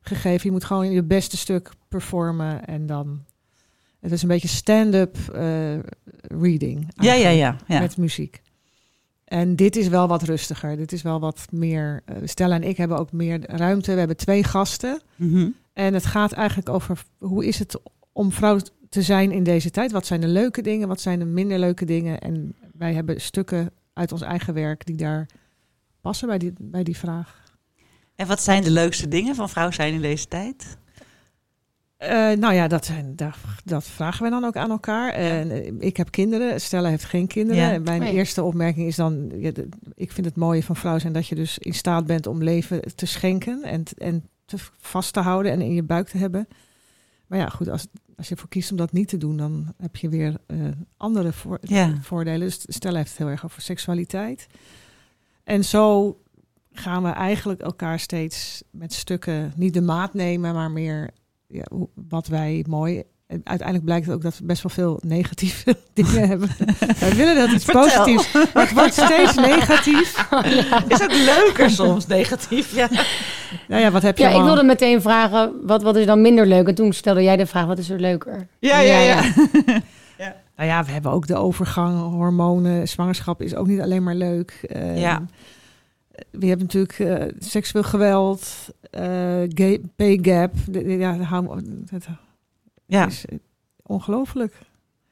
B: gegeven. Je moet gewoon je beste stuk performen en dan... Het is een beetje stand-up eh, reading.
C: Ja, ja, ja. ja.
B: met muziek. En dit is wel wat rustiger. Dit is wel wat meer. eh, Stella en ik hebben ook meer ruimte. We hebben twee gasten.
C: Mhm.
B: En het gaat eigenlijk over hoe is het om vrouw te zijn in deze tijd? Wat zijn de leuke dingen? Wat zijn de minder leuke dingen? En wij hebben stukken uit ons eigen werk die daar passen bij die, bij die vraag.
C: En wat zijn de leukste dingen van vrouw zijn in deze tijd?
B: Eh, nou ja, dat, zijn, daar- dat vragen we dan ook aan elkaar. En, eh, ik heb kinderen, Stella heeft geen kinderen.
C: Ja.
B: En mijn
A: Nee.
B: eerste opmerking is dan... ja, de- ik vind het mooie van vrouw zijn dat je dus in staat bent om leven te schenken... en, t- en te v- vast te houden en in je buik te hebben. Maar ja, goed, als, als je ervoor kiest om dat niet te doen... dan heb je weer eh, andere voor,
C: Ja.
B: voordelen. Dus Stella heeft het heel erg over seksualiteit. En zo gaan we eigenlijk elkaar steeds met stukken niet de maat nemen, maar meer ja, hoe- wat wij mooi. en Uiteindelijk blijkt ook dat we best wel veel negatieve dingen hebben. Wij willen dat iets
C: Vertel.
B: positiefs. Maar het wordt steeds negatief.
C: Is ook leuker soms, negatief. Ja.
B: Nou ja, wat heb je
A: Ja, ik
B: allemaal?
A: wilde meteen vragen, wat, wat is dan minder leuk? En toen stelde jij de vraag, wat is er leuker?
C: Ja, ja, ja.
B: Nou ja, we hebben ook de overgang, hormonen, zwangerschap is ook niet alleen maar leuk. Eh,
C: Ja.
B: We hebben natuurlijk eh, seksueel geweld, eh, gay, pay gap. De- de- ja, de hou- het
C: Ja.
B: is eh, ongelooflijk.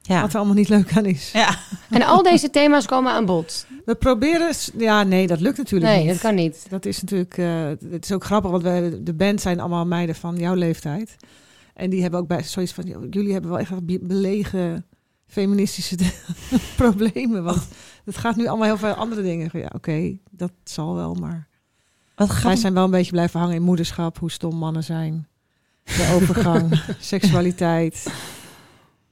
C: Ja.
B: Wat er allemaal niet leuk aan is.
C: ja.
A: En al deze thema's komen aan bod.
B: We proberen... s- Ja, nee, dat lukt natuurlijk
A: Nee,
B: niet.
A: dat kan niet.
B: Dat is natuurlijk, eh, het is ook grappig, want we, de band zijn allemaal meiden van jouw leeftijd. En die hebben ook bij zoiets van, "Joh, jullie hebben wel echt be- belegen feministische problemen. Want het gaat nu allemaal heel veel andere dingen. Ja, oké, dat zal wel, maar
C: Wat
B: wij
C: grappig.
B: zijn wel een beetje blijven hangen in moederschap, hoe stom mannen zijn. De overgang, seksualiteit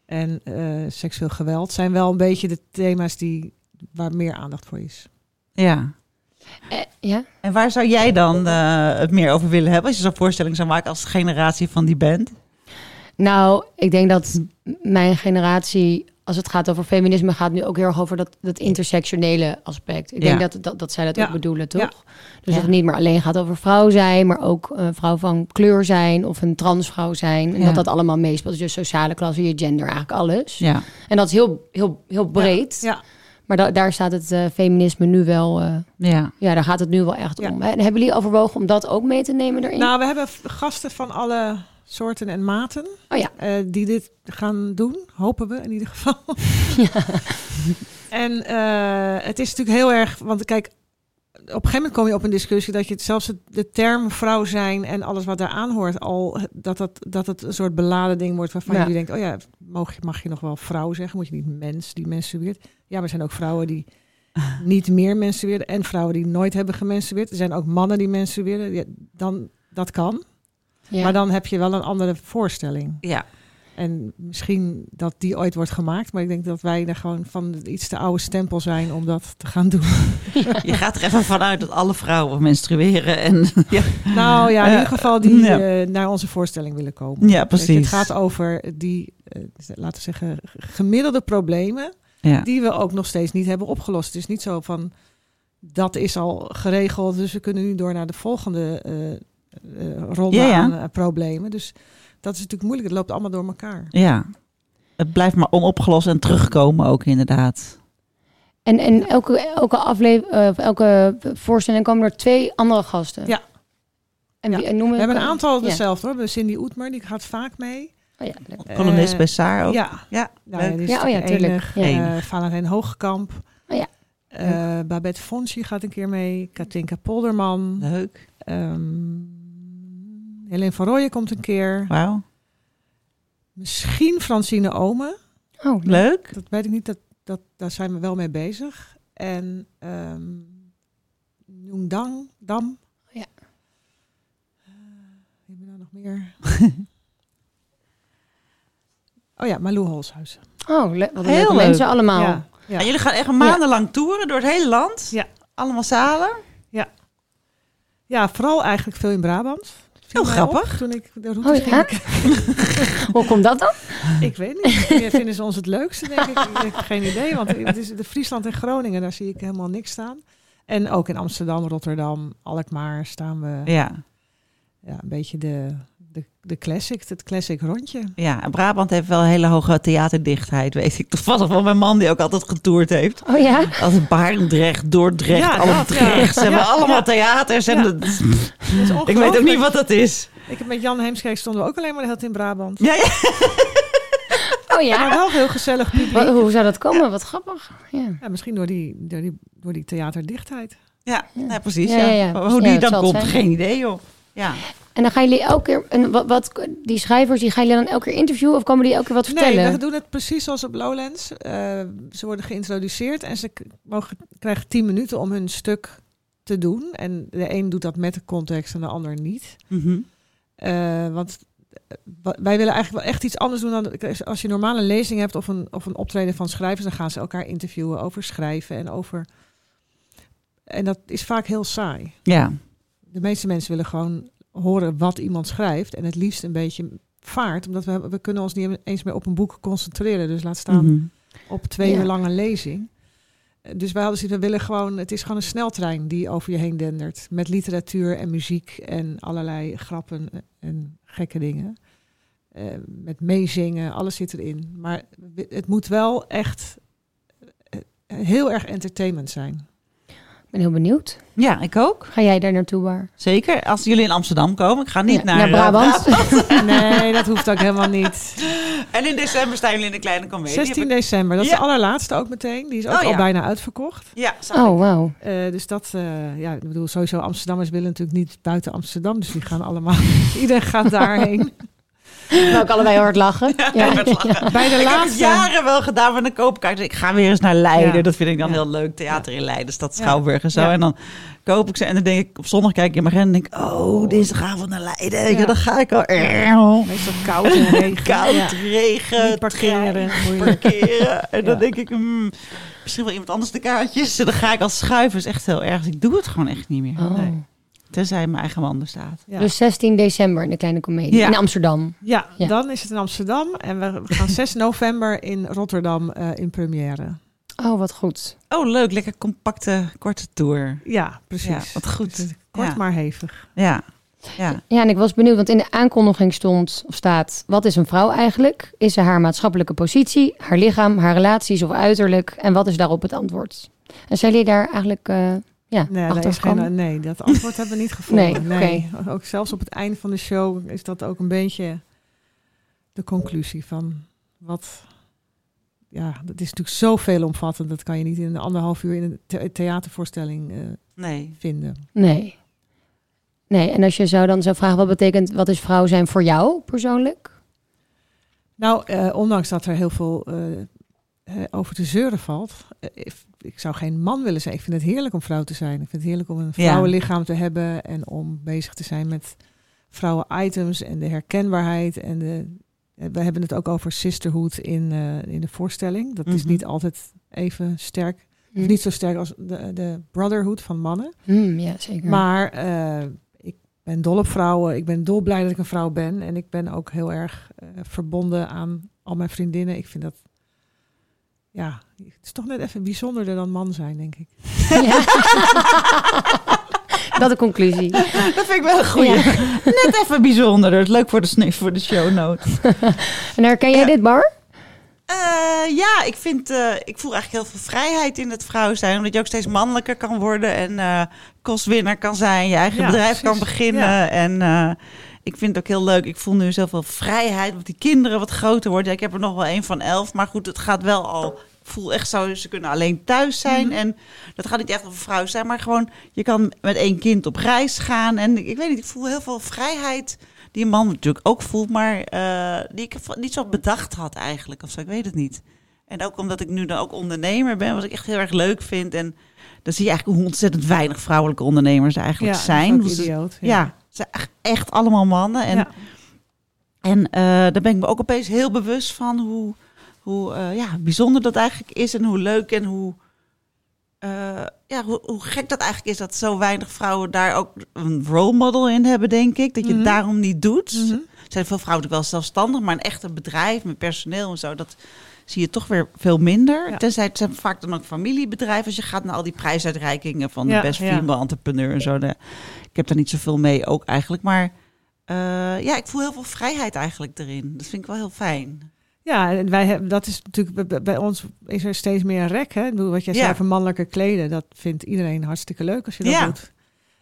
B: en eh, seksueel geweld zijn wel een beetje de thema's die, waar meer aandacht voor is.
C: Ja.
A: Eh, ja?
C: En waar zou jij dan eh, het meer over willen hebben? Als je zo'n voorstelling zou maken als generatie van die band.
A: Nou, ik denk dat m- mijn generatie, als het gaat over feminisme, gaat nu ook heel erg over dat, dat intersectionele aspect. Ik
C: Ja.
A: denk dat, dat, dat zij dat
B: Ja.
A: ook bedoelen, toch?
B: Ja.
A: Dus
C: Ja.
A: dat het niet meer alleen gaat over vrouw zijn, maar ook eh, vrouw van kleur zijn of een transvrouw zijn. En
C: Ja.
A: dat dat allemaal meespeelt. Dus je sociale klasse, je gender, eigenlijk alles.
C: Ja.
A: En dat is heel, heel, heel breed.
B: Ja,
A: Maar da- daar staat het eh, feminisme nu wel, eh,
C: Ja.
A: ja, daar gaat het nu wel echt
B: Ja.
A: om. En hebben jullie overwogen om dat ook mee te nemen erin?
B: Nou, we hebben v- gasten van alle soorten en maten
A: oh ja,
B: eh, die dit gaan doen. Hopen we in ieder geval. En eh, het is natuurlijk heel erg, want kijk, op een gegeven moment kom je op een discussie dat je het- zelfs het, de term vrouw zijn en alles wat daaraan hoort al, dat, dat, dat het een soort beladen ding wordt waarvan
A: Ja.
B: jullie denken, oh ja, mag je, mag je nog wel vrouw zeggen? Moet je niet mens die menstrueert? Ja, maar er zijn ook vrouwen die niet meer menstrueren en vrouwen die nooit hebben gemenstrueerd. Er zijn ook mannen die menstrueren. Ja, dan, dat kan,
A: ja.
B: maar dan heb je wel een andere voorstelling.
C: Ja.
B: En misschien dat die ooit wordt gemaakt, maar ik denk dat wij er gewoon van de iets te oude stempel zijn om dat te gaan doen.
C: Je gaat er even vanuit dat alle vrouwen menstrueren. En, ja.
B: Nou ja, in
C: Eh,
B: ieder geval die
C: ja.
B: eh, naar onze voorstelling willen komen.
C: ja,
B: Weet je,
C: precies.
B: het gaat over die, eh, laten we zeggen, g- gemiddelde problemen
C: ja.
B: die we ook nog steeds niet hebben opgelost. Het is niet zo van, dat is al geregeld, dus we kunnen nu door naar de volgende eh eh, ronde
C: Ja, ja.
B: aan eh, problemen. Dus dat is natuurlijk moeilijk, het loopt allemaal door elkaar.
C: ja. Het blijft maar onopgelost en terugkomen ook inderdaad.
A: En, en elke, elke, afle- eh, of elke voorstelling komen er twee andere gasten.
B: Ja.
A: En wie,
B: Ja.
A: en noemen
B: We hebben een aantal
A: Ja.
B: dezelfde hoor. We hebben Cindy Oetmer, die gaat vaak mee.
A: Oh ja, leuk.
C: Columnist
B: Eh,
C: bij Saar ook.
B: Ja,
C: Ja,
B: nou, ja, die is
A: Ja, oh ja,
B: natuurlijk
A: tuurlijk.
B: enig.
A: Ja.
B: Eh, Valentijn Hoogkamp.
A: Oh ja.
B: Eh, Babette Fonsi gaat een keer mee. Katinka Polderman.
C: leuk.
B: Ehm Helene van Rooyen komt een keer.
C: Wauw.
B: Misschien Francine Omen.
A: Oh, leuk.
C: Leuk.
B: Dat weet ik niet, dat, dat, daar zijn we wel mee bezig. En ehm Noeng Dang, Dam.
A: Ja.
B: Eh, wie hebben we nou nog meer? oh ja, Malou Holshuis.
A: Oh, le- wat een
C: Heel
A: leuke
C: leuk.
A: mensen allemaal.
B: Ja, ja.
C: En jullie gaan echt maandenlang toeren door het hele land.
B: Ja.
C: Allemaal zalen.
B: Ja, vooral eigenlijk veel in Brabant. Viel
C: Heel
B: mij op
C: grappig.
B: Toen ik de route
A: Oh ja? Hoe komt dat dan?
B: Ik weet niet. Meer vinden ze ons het leukste, denk ik. Ik heb geen idee, want het is de Friesland en Groningen, daar zie ik helemaal niks staan. En ook in Amsterdam, Rotterdam, Alkmaar staan we
C: Ja.
B: ja, een beetje de, de, de classic, het classic rondje.
C: Ja, en Brabant heeft wel een hele hoge theaterdichtheid, weet ik toevallig van mijn man die ook altijd getoerd heeft.
A: Oh ja?
C: Altijd Barendrecht, Dordrecht,
B: Ja,
C: alle
B: dat, ja.
C: Drechts. Ze hebben
B: Ja,
C: allemaal
B: ja.
C: theaters. En
B: Ja.
C: dat-
B: Dat is
C: ik weet ook
B: ongelooflijk.
C: niet wat dat is.
B: Ik heb met Jan Heemskerk stonden we ook alleen maar de hele tijd in Brabant.
C: Ja, ja.
A: Oh
B: Maar
A: ja?
B: wel heel gezellig publiek.
A: Wat- hoe zou dat komen? Wat grappig. Ja.
B: Ja, misschien door die, door, die, door die theaterdichtheid.
C: Ja, nou, precies.
A: Ja,
C: Ja,
A: ja, ja.
C: Maar Hoe
A: Ja,
C: die
A: dat
C: dan
A: zal het
C: komt,
A: zijn.
C: geen idee joh. Ja.
A: En dan gaan jullie elke keer... En wat, wat, die schrijvers, die gaan jullie dan elke keer interviewen? Of komen die elke keer wat vertellen?
B: Nee, we doen het precies zoals op Lowlands. Eh, ze worden geïntroduceerd en ze k- mogen, krijgen 10 minuten om hun stuk te doen. En de een doet dat met de context en de ander niet.
C: Mhm.
B: Eh, want eh, wa- wij willen eigenlijk wel echt iets anders doen dan als je normaal een lezing hebt of een, of een optreden van schrijvers, dan gaan ze elkaar interviewen over schrijven en over. En dat is vaak heel saai.
C: ja.
B: De meeste mensen willen gewoon horen wat iemand schrijft en het liefst een beetje vaart, omdat we, we kunnen ons niet eens meer op een boek concentreren. Dus laat staan
C: Mhm.
B: op twee
A: Ja.
B: uur lange lezing. Eh, Dus wij hadden zoiets, we willen gewoon, het is gewoon een sneltrein die over je heen dendert. Met literatuur en muziek en allerlei grappen en gekke dingen. Eh, met meezingen, alles zit erin. Maar het moet wel echt eh, heel erg entertainment zijn.
A: ben heel benieuwd.
C: Ja, ik ook.
A: Ga jij daar naartoe, Bar?
C: Zeker. Als jullie in Amsterdam komen. Ik ga niet
A: Ja,
C: naar, eh,
A: Brabant.
B: Nee, dat hoeft ook helemaal niet.
C: En in december staan jullie in de kleine comedie.
B: 16 december, dat is
C: Ja.
B: de allerlaatste ook meteen. Die is ook
C: Oh, ja.
B: al bijna uitverkocht.
C: Ja, zag ik.
A: Oh, wauw.
B: Eh, dus dat, eh, ja, ik bedoel, sowieso Amsterdammers willen natuurlijk niet buiten Amsterdam. Dus die gaan allemaal, iedereen gaat daarheen.
A: We ook allebei hard lachen.
C: Ik
A: Ja.
C: werd lachen.
B: Bij de
C: Ik heb het
B: laatste.
C: jaren wel gedaan met een koopkaart. Ik ga weer eens naar Leiden.
B: Ja.
C: Dat vind ik dan
B: Ja.
C: heel leuk. Theater in Leiden, stad
B: Ja.
C: Schouwburg en zo.
B: Ja.
C: En dan koop ik ze. En dan denk ik, op zondag kijk ik in mijn agenda en denk ik... Oh, dinsdagavond naar Leiden. Ja.
B: Ja.
C: dan ga ik al. Eh,
B: Meestal koud en regen.
C: Koud,
B: Ja.
C: regen,
B: Niet parkeren.
C: trein,
B: moeilijk.
C: parkeren. En dan
B: Ja.
C: denk ik, hmm, misschien wel iemand anders de kaartjes. En dan ga ik als schuiven. is echt heel erg. Dus Ik doe het gewoon echt niet meer.
A: Oh.
B: Nee.
C: Tenzij mijn eigen wanden staat.
B: Ja.
A: Dus 16 december in de Kleine Comedie.
C: Ja.
A: In Amsterdam.
B: Ja,
A: Ja.
B: dan is het in Amsterdam. En we we gaan 6 november in Rotterdam eh, in première.
A: Oh, wat goed.
C: Oh, leuk. Lekker compacte, korte tour.
B: Ja,
C: Ja,
B: precies. Dus
C: wat goed.
B: Kort
C: Ja.
B: maar hevig.
C: Ja. ja.
A: Ja, en ik was benieuwd, want in de aankondiging stond of staat... wat is een vrouw eigenlijk? Is ze haar maatschappelijke positie, haar lichaam, haar relaties of uiterlijk? En wat is daarop het antwoord? En zijn jullie daar eigenlijk eh ja,
B: Nee, daar
A: achter
B: is geen-
A: gekomen?
B: nee, dat antwoord hebben we niet gevonden.
A: Nee,
B: Ook zelfs op het einde van de show is dat ook een beetje de conclusie van wat... Ja, dat is natuurlijk zo veelomvattend. Dat kan je niet in een anderhalf uur in een the- theatervoorstelling eh,
C: Nee.
B: vinden.
A: Nee. Nee, en als je zou dan zou vragen... wat betekent, wat is vrouw zijn voor jou persoonlijk?
B: Nou, eh, ondanks dat er heel veel eh, eh, over te zeuren valt. eh, if- ik zou geen man willen zijn. Ik vind het heerlijk om vrouw te zijn. Ik vind het heerlijk om een vrouwenlichaam te hebben. En om bezig te zijn met vrouwen-items en de herkenbaarheid. En de, eh, we hebben het ook over sisterhood in, eh, in de voorstelling. Dat is
C: Mhm.
B: niet altijd even sterk.
A: Hm.
B: Niet zo sterk als de, de brotherhood van mannen.
A: Hm, ja, zeker.
B: Maar eh, ik ben dol op vrouwen. Ik ben dolblij dat ik een vrouw ben. En ik ben ook heel erg eh, verbonden aan al mijn vriendinnen. Ik vind dat... Ja, het is toch net even bijzonderder dan man zijn, denk ik.
A: Ja. dat de conclusie.
C: Dat vind ik wel een goeie.
A: Ja.
C: Net even bijzonder. Dat is leuk voor de, snu- voor de show notes.
A: En herken jij
C: Ja.
A: dit, Bar?
C: Eh, ja, ik, vind, eh, ik voel eigenlijk heel veel vrijheid in het vrouw zijn. Omdat je ook steeds mannelijker kan worden en eh, kostwinner kan zijn. Je eigen
B: Ja,
C: bedrijf
B: precies.
C: kan beginnen.
B: Ja.
C: En eh, ik vind het ook heel leuk. Ik voel nu zoveel vrijheid. Want die kinderen wat groter worden. Ja, Ik heb er nog wel één van elf. Maar goed, het gaat wel al. Ik voel echt zo, ze kunnen alleen thuis zijn.
B: Mhm.
C: En dat gaat niet echt over vrouw zijn. Maar gewoon, je kan met één kind op reis gaan. En ik, ik weet niet, ik voel heel veel vrijheid. Die een man natuurlijk ook voelt, maar eh, die ik v- niet zo bedacht had eigenlijk. Of zo, ik weet het niet. En ook omdat ik nu dan ook ondernemer ben, wat ik echt heel erg leuk vind. En dan zie je eigenlijk hoe ontzettend weinig vrouwelijke ondernemers er eigenlijk zijn.
B: Dat
C: Want
B: is
C: ze-
B: ook idioot.
C: ja, ze zijn echt- echt allemaal mannen. En,
B: Ja.
C: en eh, daar ben ik me ook opeens heel bewust van hoe, hoe eh, ja, bijzonder dat eigenlijk is. En hoe leuk en hoe, eh, ja, hoe, hoe gek dat eigenlijk is dat zo weinig vrouwen daar ook een role model in hebben, denk ik. Dat je
B: Mhm.
C: het daarom niet doet.
B: Mhm.
C: Er zijn veel vrouwen natuurlijk wel zelfstandig, maar een echte bedrijf met personeel en zo, dat zie je toch weer veel minder.
B: Ja.
C: Tenzij het zijn vaak dan ook familiebedrijven. Als je gaat naar al die prijsuitreikingen van de
B: Ja,
C: best
B: ja.
C: female entrepreneur en zo. de- ik heb daar niet zoveel mee ook eigenlijk, maar eh, ja, ik voel heel veel vrijheid eigenlijk erin. Dat vind ik wel heel fijn.
B: Ja, en wij hebben, dat is natuurlijk bij- bij, bij ons is er steeds meer een rek. Hè? Ik bedoel, wat jij
C: Ja.
B: zei van mannelijke kleden, dat vindt iedereen hartstikke leuk als je dat
C: Ja.
B: doet.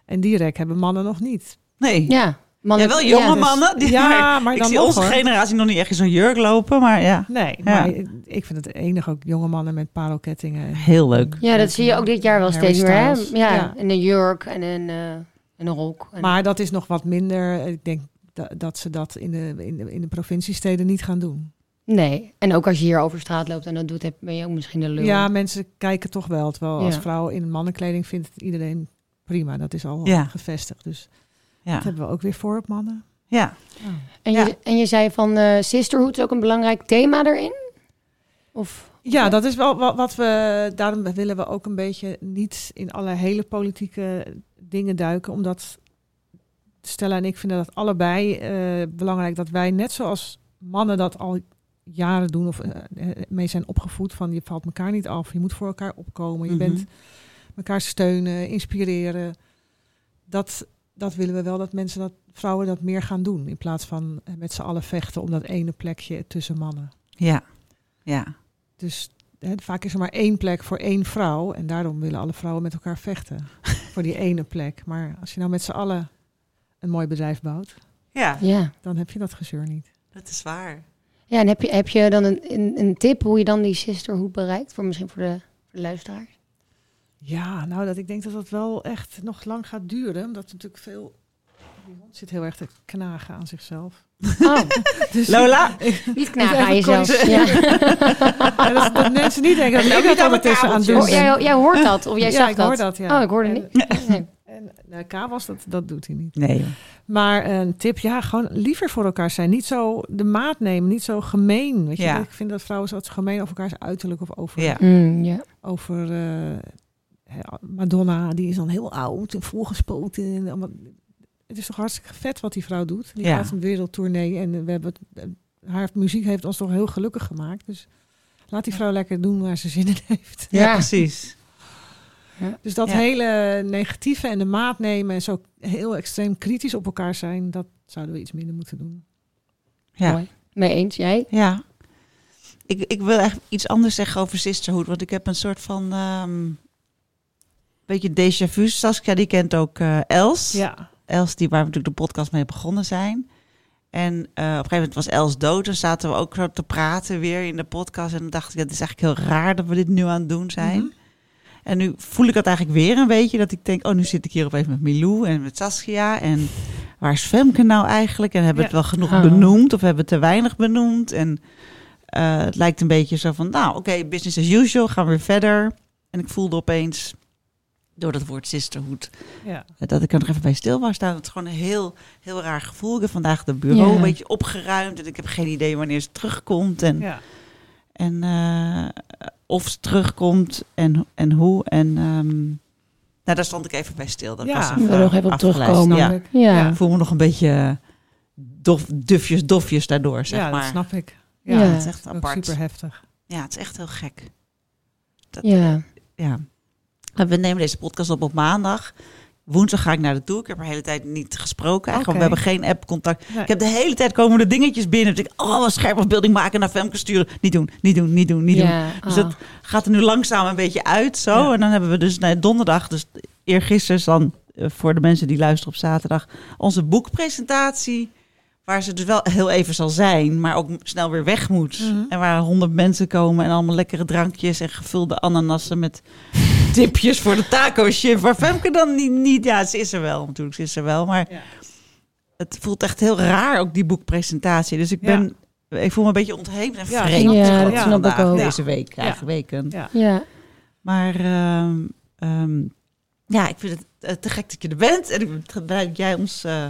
B: En die rek hebben mannen nog niet.
C: Nee. Ja.
A: Ja. Mannen,
C: wel jonge
A: ja. dus-
C: mannen. Die,
B: Ja,
C: maar,
B: maar
C: ik
B: dan
C: zie
B: nog,
C: onze
B: hoor.
C: generatie nog niet echt in zo'n jurk lopen, maar ja,
B: Nee, maar ik vind het enig ook jonge mannen met parelkettingen. en-
C: heel leuk.
A: Ja, dat zie je ook dit jaar wel
B: eh, Harry
A: steeds meer. Hè?
B: Styles.
A: Ja,
B: Ja.
A: en een jurk en een, eh, en een rok. En-
B: Maar dat is nog wat minder. Ik denk da- dat ze dat in de, in de, in de provinciesteden niet gaan doen.
A: Nee, en ook als je hier over straat loopt en dat doet, heb- ben je ook misschien een lul.
B: Ja, mensen kijken toch wel. Terwijl als
A: Ja.
B: vrouw in mannenkleding vindt het iedereen prima. Dat is al
C: Ja.
B: gevestigd. Dus
C: Ja.
B: dat hebben we ook weer voor op mannen.
C: ja.
A: en, je,
C: ja.
A: en je zei van eh sisterhood is ook een belangrijk thema daarin? Of,
B: Ja, dat is wel wa- wat we. Daarom willen we ook een beetje niet in alle hele politieke dingen duiken. Omdat Stella en ik vinden dat allebei eh, belangrijk dat wij, net zoals mannen dat al jaren doen of eh, eh, mee zijn opgevoed, van je valt elkaar niet af, je moet voor elkaar opkomen, je
C: Mhm.
B: bent elkaar steunen, inspireren. Dat, dat willen we wel dat mensen dat vrouwen dat meer gaan doen in plaats van eh, met z'n allen vechten om dat ene plekje tussen mannen.
C: Ja. Ja.
B: Dus hè, vaak is er maar één plek voor één vrouw. En daarom willen alle vrouwen met elkaar vechten. voor die ene plek. Maar als je nou met z'n allen een mooi bedrijf bouwt,
C: Ja,
A: Ja.
B: dan heb je dat gezeur niet.
C: dat is waar.
A: Ja, en heb je, heb je dan een, een, een tip hoe je dan die sisterhood bereikt? Voor misschien voor de, voor de luisteraars?
B: Ja, nou, dat, ik denk dat dat wel echt nog lang gaat duren. Omdat er natuurlijk veel... Die hond zit heel erg te knagen aan zichzelf.
A: Oh,
B: Dus
C: Lola,
A: niet knagen aan
B: Even
A: jezelf. Ja.
B: Ja, dat, dat mensen niet denken dat
C: En ook
B: ik dat
C: niet aan
B: ondertussen aan het
C: mijn
B: doen
A: Hoor-
B: ben.
A: jij, jij hoort dat, of jij
B: ja,
A: zag
B: ik
A: dat?
B: hoor dat, ja.
A: Oh, ik hoorde
B: En-
A: niet. Nee.
B: En nou, kabels, dat, dat doet hij niet.
C: Nee, joh.
B: Maar een tip, ja, gewoon liever voor elkaar zijn. Niet zo de maat nemen, niet zo gemeen. Weet je?
C: Ja.
B: Ik vind dat vrouwen zo altijd gemeen over elkaars uiterlijk of over,
C: ja.
A: Mm, ja.
B: over eh, hè, Madonna. Die is dan heel oud en volgespoten. En allemaal. Het is toch hartstikke vet wat die vrouw doet. Die
C: Ja.
B: gaat een wereldtournee en eh, we hebben het- eh, haar muziek heeft ons toch heel gelukkig gemaakt. Dus laat die vrouw lekker doen waar ze zin in heeft.
C: Ja,
A: Ja.
C: precies.
B: Dus dat
C: Ja.
B: hele negatieve en de maat nemen en zo heel extreem kritisch op elkaar zijn, dat zouden we iets minder moeten doen.
C: Ja.
A: Mooi. Mee eens, jij?
C: Ja. Ik, ik wil echt iets anders zeggen over sisterhood. Want ik heb een soort van... ehm beetje déjà vu. Saskia die kent ook eh, Els.
B: Ja,
C: Els die waar we natuurlijk de podcast mee begonnen zijn. En eh, op een gegeven moment was Els dood. En zaten we ook zo te praten weer in de podcast. En dan dacht ik, het is eigenlijk heel raar dat we dit nu aan het doen zijn. En nu voel ik dat eigenlijk weer een beetje. Dat ik denk, oh nu zit ik hier opeens met Milou en met Saskia. En waar is Femke nou eigenlijk? En hebben we het wel genoeg
A: Ah.
C: benoemd? Of hebben we het te weinig benoemd? En eh, het lijkt een beetje zo van, nou oké, business as usual. Gaan we weer verder. En ik voelde opeens, door dat woord sisterhood,
B: ja.
C: dat ik er nog even bij stil was staan. Het is gewoon een heel, heel raar gevoel. Ik heb vandaag de bureau
A: Ja.
C: een beetje opgeruimd. En ik heb geen idee wanneer ze terugkomt. En,
B: ja.
C: en eh, of ze terugkomt en, en hoe. En ehm, nou, daar stond ik even bij stil. Dat
B: Ja.
C: was
A: We
C: even
A: willen er nog even op
C: afgeleid.
A: terugkomen.
C: Ja.
B: Snap ik.
A: Ja.
C: Ik voel me nog een beetje dof, dufjes, dofjes daardoor, zeg
B: ja,
C: maar.
B: dat snap ik.
A: Ja,
B: dat
C: het
A: is
C: is echt apart.
B: Super heftig.
C: Ja, het is echt heel gek. Dat-
A: Ja.
C: ja. En We nemen deze podcast op op maandag. Woensdag ga ik naar de toe. Ik heb er de hele tijd niet gesproken. Eigenlijk.
B: Oké.
C: We hebben geen app-contact.
B: Nee.
C: Ik heb de hele tijd komen de dingetjes binnen. Dus ik, oh, wat schermafbeelding maken naar Femke sturen. Niet doen, niet doen, niet doen, niet doen.
A: ja.
C: Dus
A: ah.
C: dat gaat er nu langzaam een beetje uit zo.
B: Ja.
C: En dan hebben we dus nee, donderdag, dus eergisteren is dan eh, voor de mensen die luisteren op zaterdag, onze boekpresentatie. Waar ze dus wel heel even zal zijn, maar ook m- snel weer weg moet.
B: Mhm.
C: En waar honderd mensen komen en allemaal lekkere drankjes en gevulde ananassen met tipjes voor de taco chip. Waar Femke dan niet, niet, ja, ze is er wel natuurlijk, ze is er wel. Maar
B: Ja.
C: het voelt echt heel raar ook die boekpresentatie. Dus ik
B: Ja.
C: ben, ik voel me een beetje ontheemd en
B: Ja,
C: vreemd.
A: ja,
C: gewoon
A: dat snap ik
C: vandaag,
A: ook.
C: Deze week,
B: Ja.
C: eigenlijk weekend.
B: Ja.
A: ja.
C: Maar ehm, ehm, ja, ik vind het eh, te gek dat je er bent. En ik ben te blij dat jij ons eh,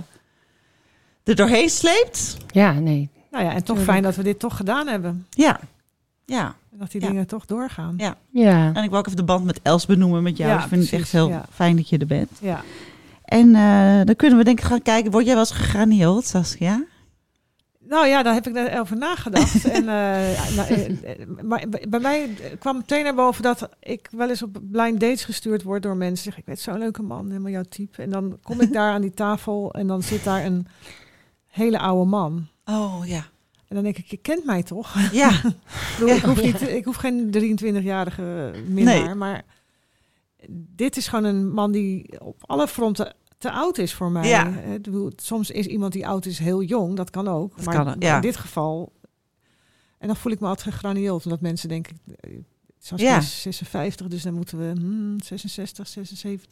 C: er doorheen sleept.
A: Ja, nee.
B: Nou ja, en toch
A: Tuurlijk.
B: fijn dat we dit toch gedaan hebben.
C: Ja. Ja,
B: En dat die
C: Ja.
B: dingen toch doorgaan.
C: Ja.
A: Ja.
C: en ik wil ook even de band met Els benoemen met jou.
B: Ja,
C: ik vind het echt
B: precies,
C: heel
B: ja.
C: fijn dat je er bent.
B: Ja.
C: En eh, dan kunnen we denk ik gaan kijken. Word jij wel eens gegranieeld, Saskia?
B: Nou ja, daar heb ik net over nagedacht. en, eh, nou, eh, eh, maar bij- bij mij kwam meteen naar boven dat ik wel eens op blind dates gestuurd word door mensen. Zeg, ik weet zo'n leuke man, helemaal jouw type. En dan kom ik daar aan die tafel en dan zit daar een hele oude man.
C: Oh ja.
B: En dan denk ik, je kent mij toch?
C: Ja,
B: Ik, bedoel, ik, hoef, niet, ik hoef geen 23-jarige minnaar. Maar dit is gewoon een man die op alle fronten te oud is voor mij.
C: Ja.
B: Eh, ik bedoel, soms is iemand die oud is heel jong, dat kan ook.
C: Dat
B: maar
C: kan ook, ja.
B: in dit geval... En dan voel ik me altijd gegranieeld. Omdat mensen denken, eh, Saskia
C: Ja.
B: is 56, dus dan moeten we hmm, 66, 76.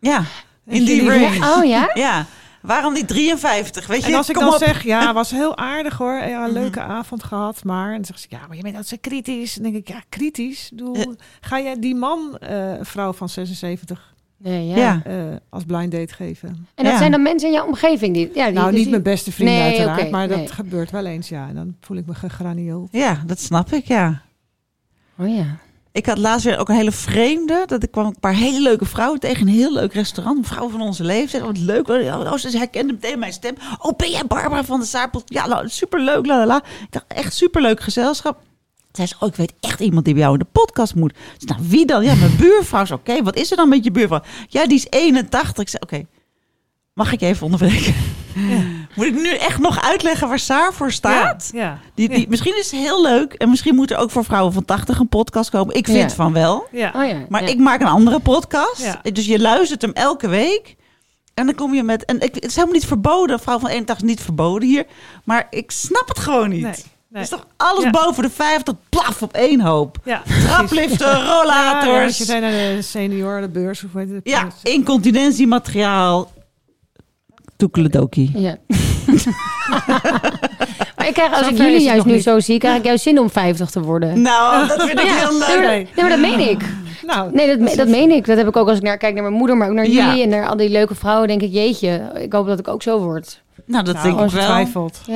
C: ja,
B: En
C: in die
B: jullie-
C: range.
A: Ja, oh ja?
C: Ja. Waarom niet 53? Weet je,
B: En als ik
C: kom
B: dan
C: op.
B: zeg, ja, was heel aardig hoor. Ja,
C: Mhm.
B: leuke avond gehad, maar... En dan zegt ze, ja, maar je bent altijd zo kritisch. Dan denk ik, ja, kritisch? Ik bedoel,
C: Eh.
B: Ga jij die man, eh, een vrouw van 76,
A: Nee, ja.
C: Ja.
B: eh, als blind date geven?
A: En dat
C: Ja.
A: zijn dan mensen in jouw omgeving die... Ja, die
B: nou,
A: dus
B: niet
A: die-
B: mijn beste vrienden
A: Nee,
B: uiteraard,
A: oké,
B: maar
A: nee.
B: dat gebeurt wel eens, ja. En dan voel ik me gegraniool.
C: ja, dat snap ik, ja.
A: Oh ja.
C: Ik had laatst weer ook een hele vreemde. Dat ik kwam een paar hele leuke vrouwen tegen. Een heel leuk restaurant. Een vrouw van onze leeftijd. Oh, Wat leuk. Oh, oh, ze herkende meteen mijn stem. Oh, ben jij Barbara van de Saarpot? Ja, nou, superleuk. La, la, la. Ik dacht, echt superleuk gezelschap. Zij zei, oh, ik weet echt iemand die bij jou in de podcast moet. Ik zei, nou, wie dan? Ja, mijn buurvrouw. Ik zei, Oké, wat is er dan met je buurvrouw? Ja, die is 81. Ik zei, oké, mag ik je even onderbreken? Moet ik nu echt nog uitleggen waar Saar voor staat?
B: Ja, ja,
C: Die, die, Misschien is het heel leuk. En misschien moet er ook voor vrouwen van 80 een podcast komen. Ik vind
A: Ja.
C: van wel.
B: ja.
A: Oh ja.
C: Maar
A: ja.
C: ik maak een andere podcast.
B: Ja.
C: Dus je luistert hem elke week. En dan kom je met. En ik, het is helemaal niet verboden. Vrouw van 81 is niet verboden hier. Maar ik snap het gewoon niet.
B: Nee, nee.
C: Het is toch alles
B: Ja.
C: boven de 50 plaf op één hoop.
B: Ja, precies.
C: Trapliften,
B: Ja, ja, als
C: rollators.
B: je zei naar de seniorenbeurs of weet je
C: Ja, incontinentiemateriaal. Toekeledokie.
A: Ja. maar ik krijg, als
B: Zo
A: ik
B: ver
A: jullie
B: is het
A: juist
B: nog
A: nu
B: niet.
A: zo zie, krijg ik juist zin om 50 te worden.
C: Nou, dat vind ik
A: Ja,
C: heel
A: nee,
C: leuk.
A: maar-
B: Nee.
A: nee, maar dat meen ik.
B: Nou,
A: Nee, dat, me- dat meen ik. Dat heb ik ook als ik naar, kijk naar mijn moeder, maar ook naar
C: Ja.
A: jullie en naar al die leuke vrouwen. Denk ik, jeetje, ik hoop dat ik ook zo word.
C: Nou, dat
B: nou,
C: denk ik wel.
B: ongetwijfeld.
A: Ja,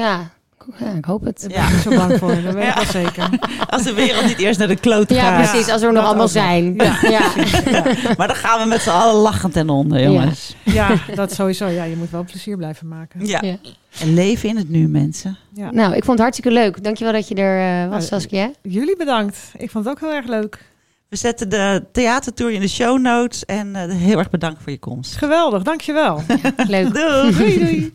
A: ja ik hoop het.
C: Ja.
B: Ja. Ik ben zo bang voor, dat weet ik wel zeker.
C: Als de wereld niet eerst naar de kloot
A: Ja,
C: gaat.
A: precies. Als we er nog allemaal
B: dat ook nog.
A: zijn. Ja.
C: Maar dan gaan we met z'n allen lachend en onder, jongens.
B: Ja, dat sowieso. Ja, je moet wel plezier blijven maken.
C: Ja.
A: Ja.
C: En leven in het nu, mensen.
B: Ja.
A: Nou, ik vond het hartstikke leuk. Dankjewel dat je er eh, was,
B: Nou,
A: Saskia.
B: Jullie bedankt. Ik vond het ook heel erg leuk.
C: We zetten de theatertour in de show notes. En eh, heel erg bedankt voor je komst.
B: Geweldig, dankjewel.
A: Leuk.
C: Doei!
B: Doei, doei.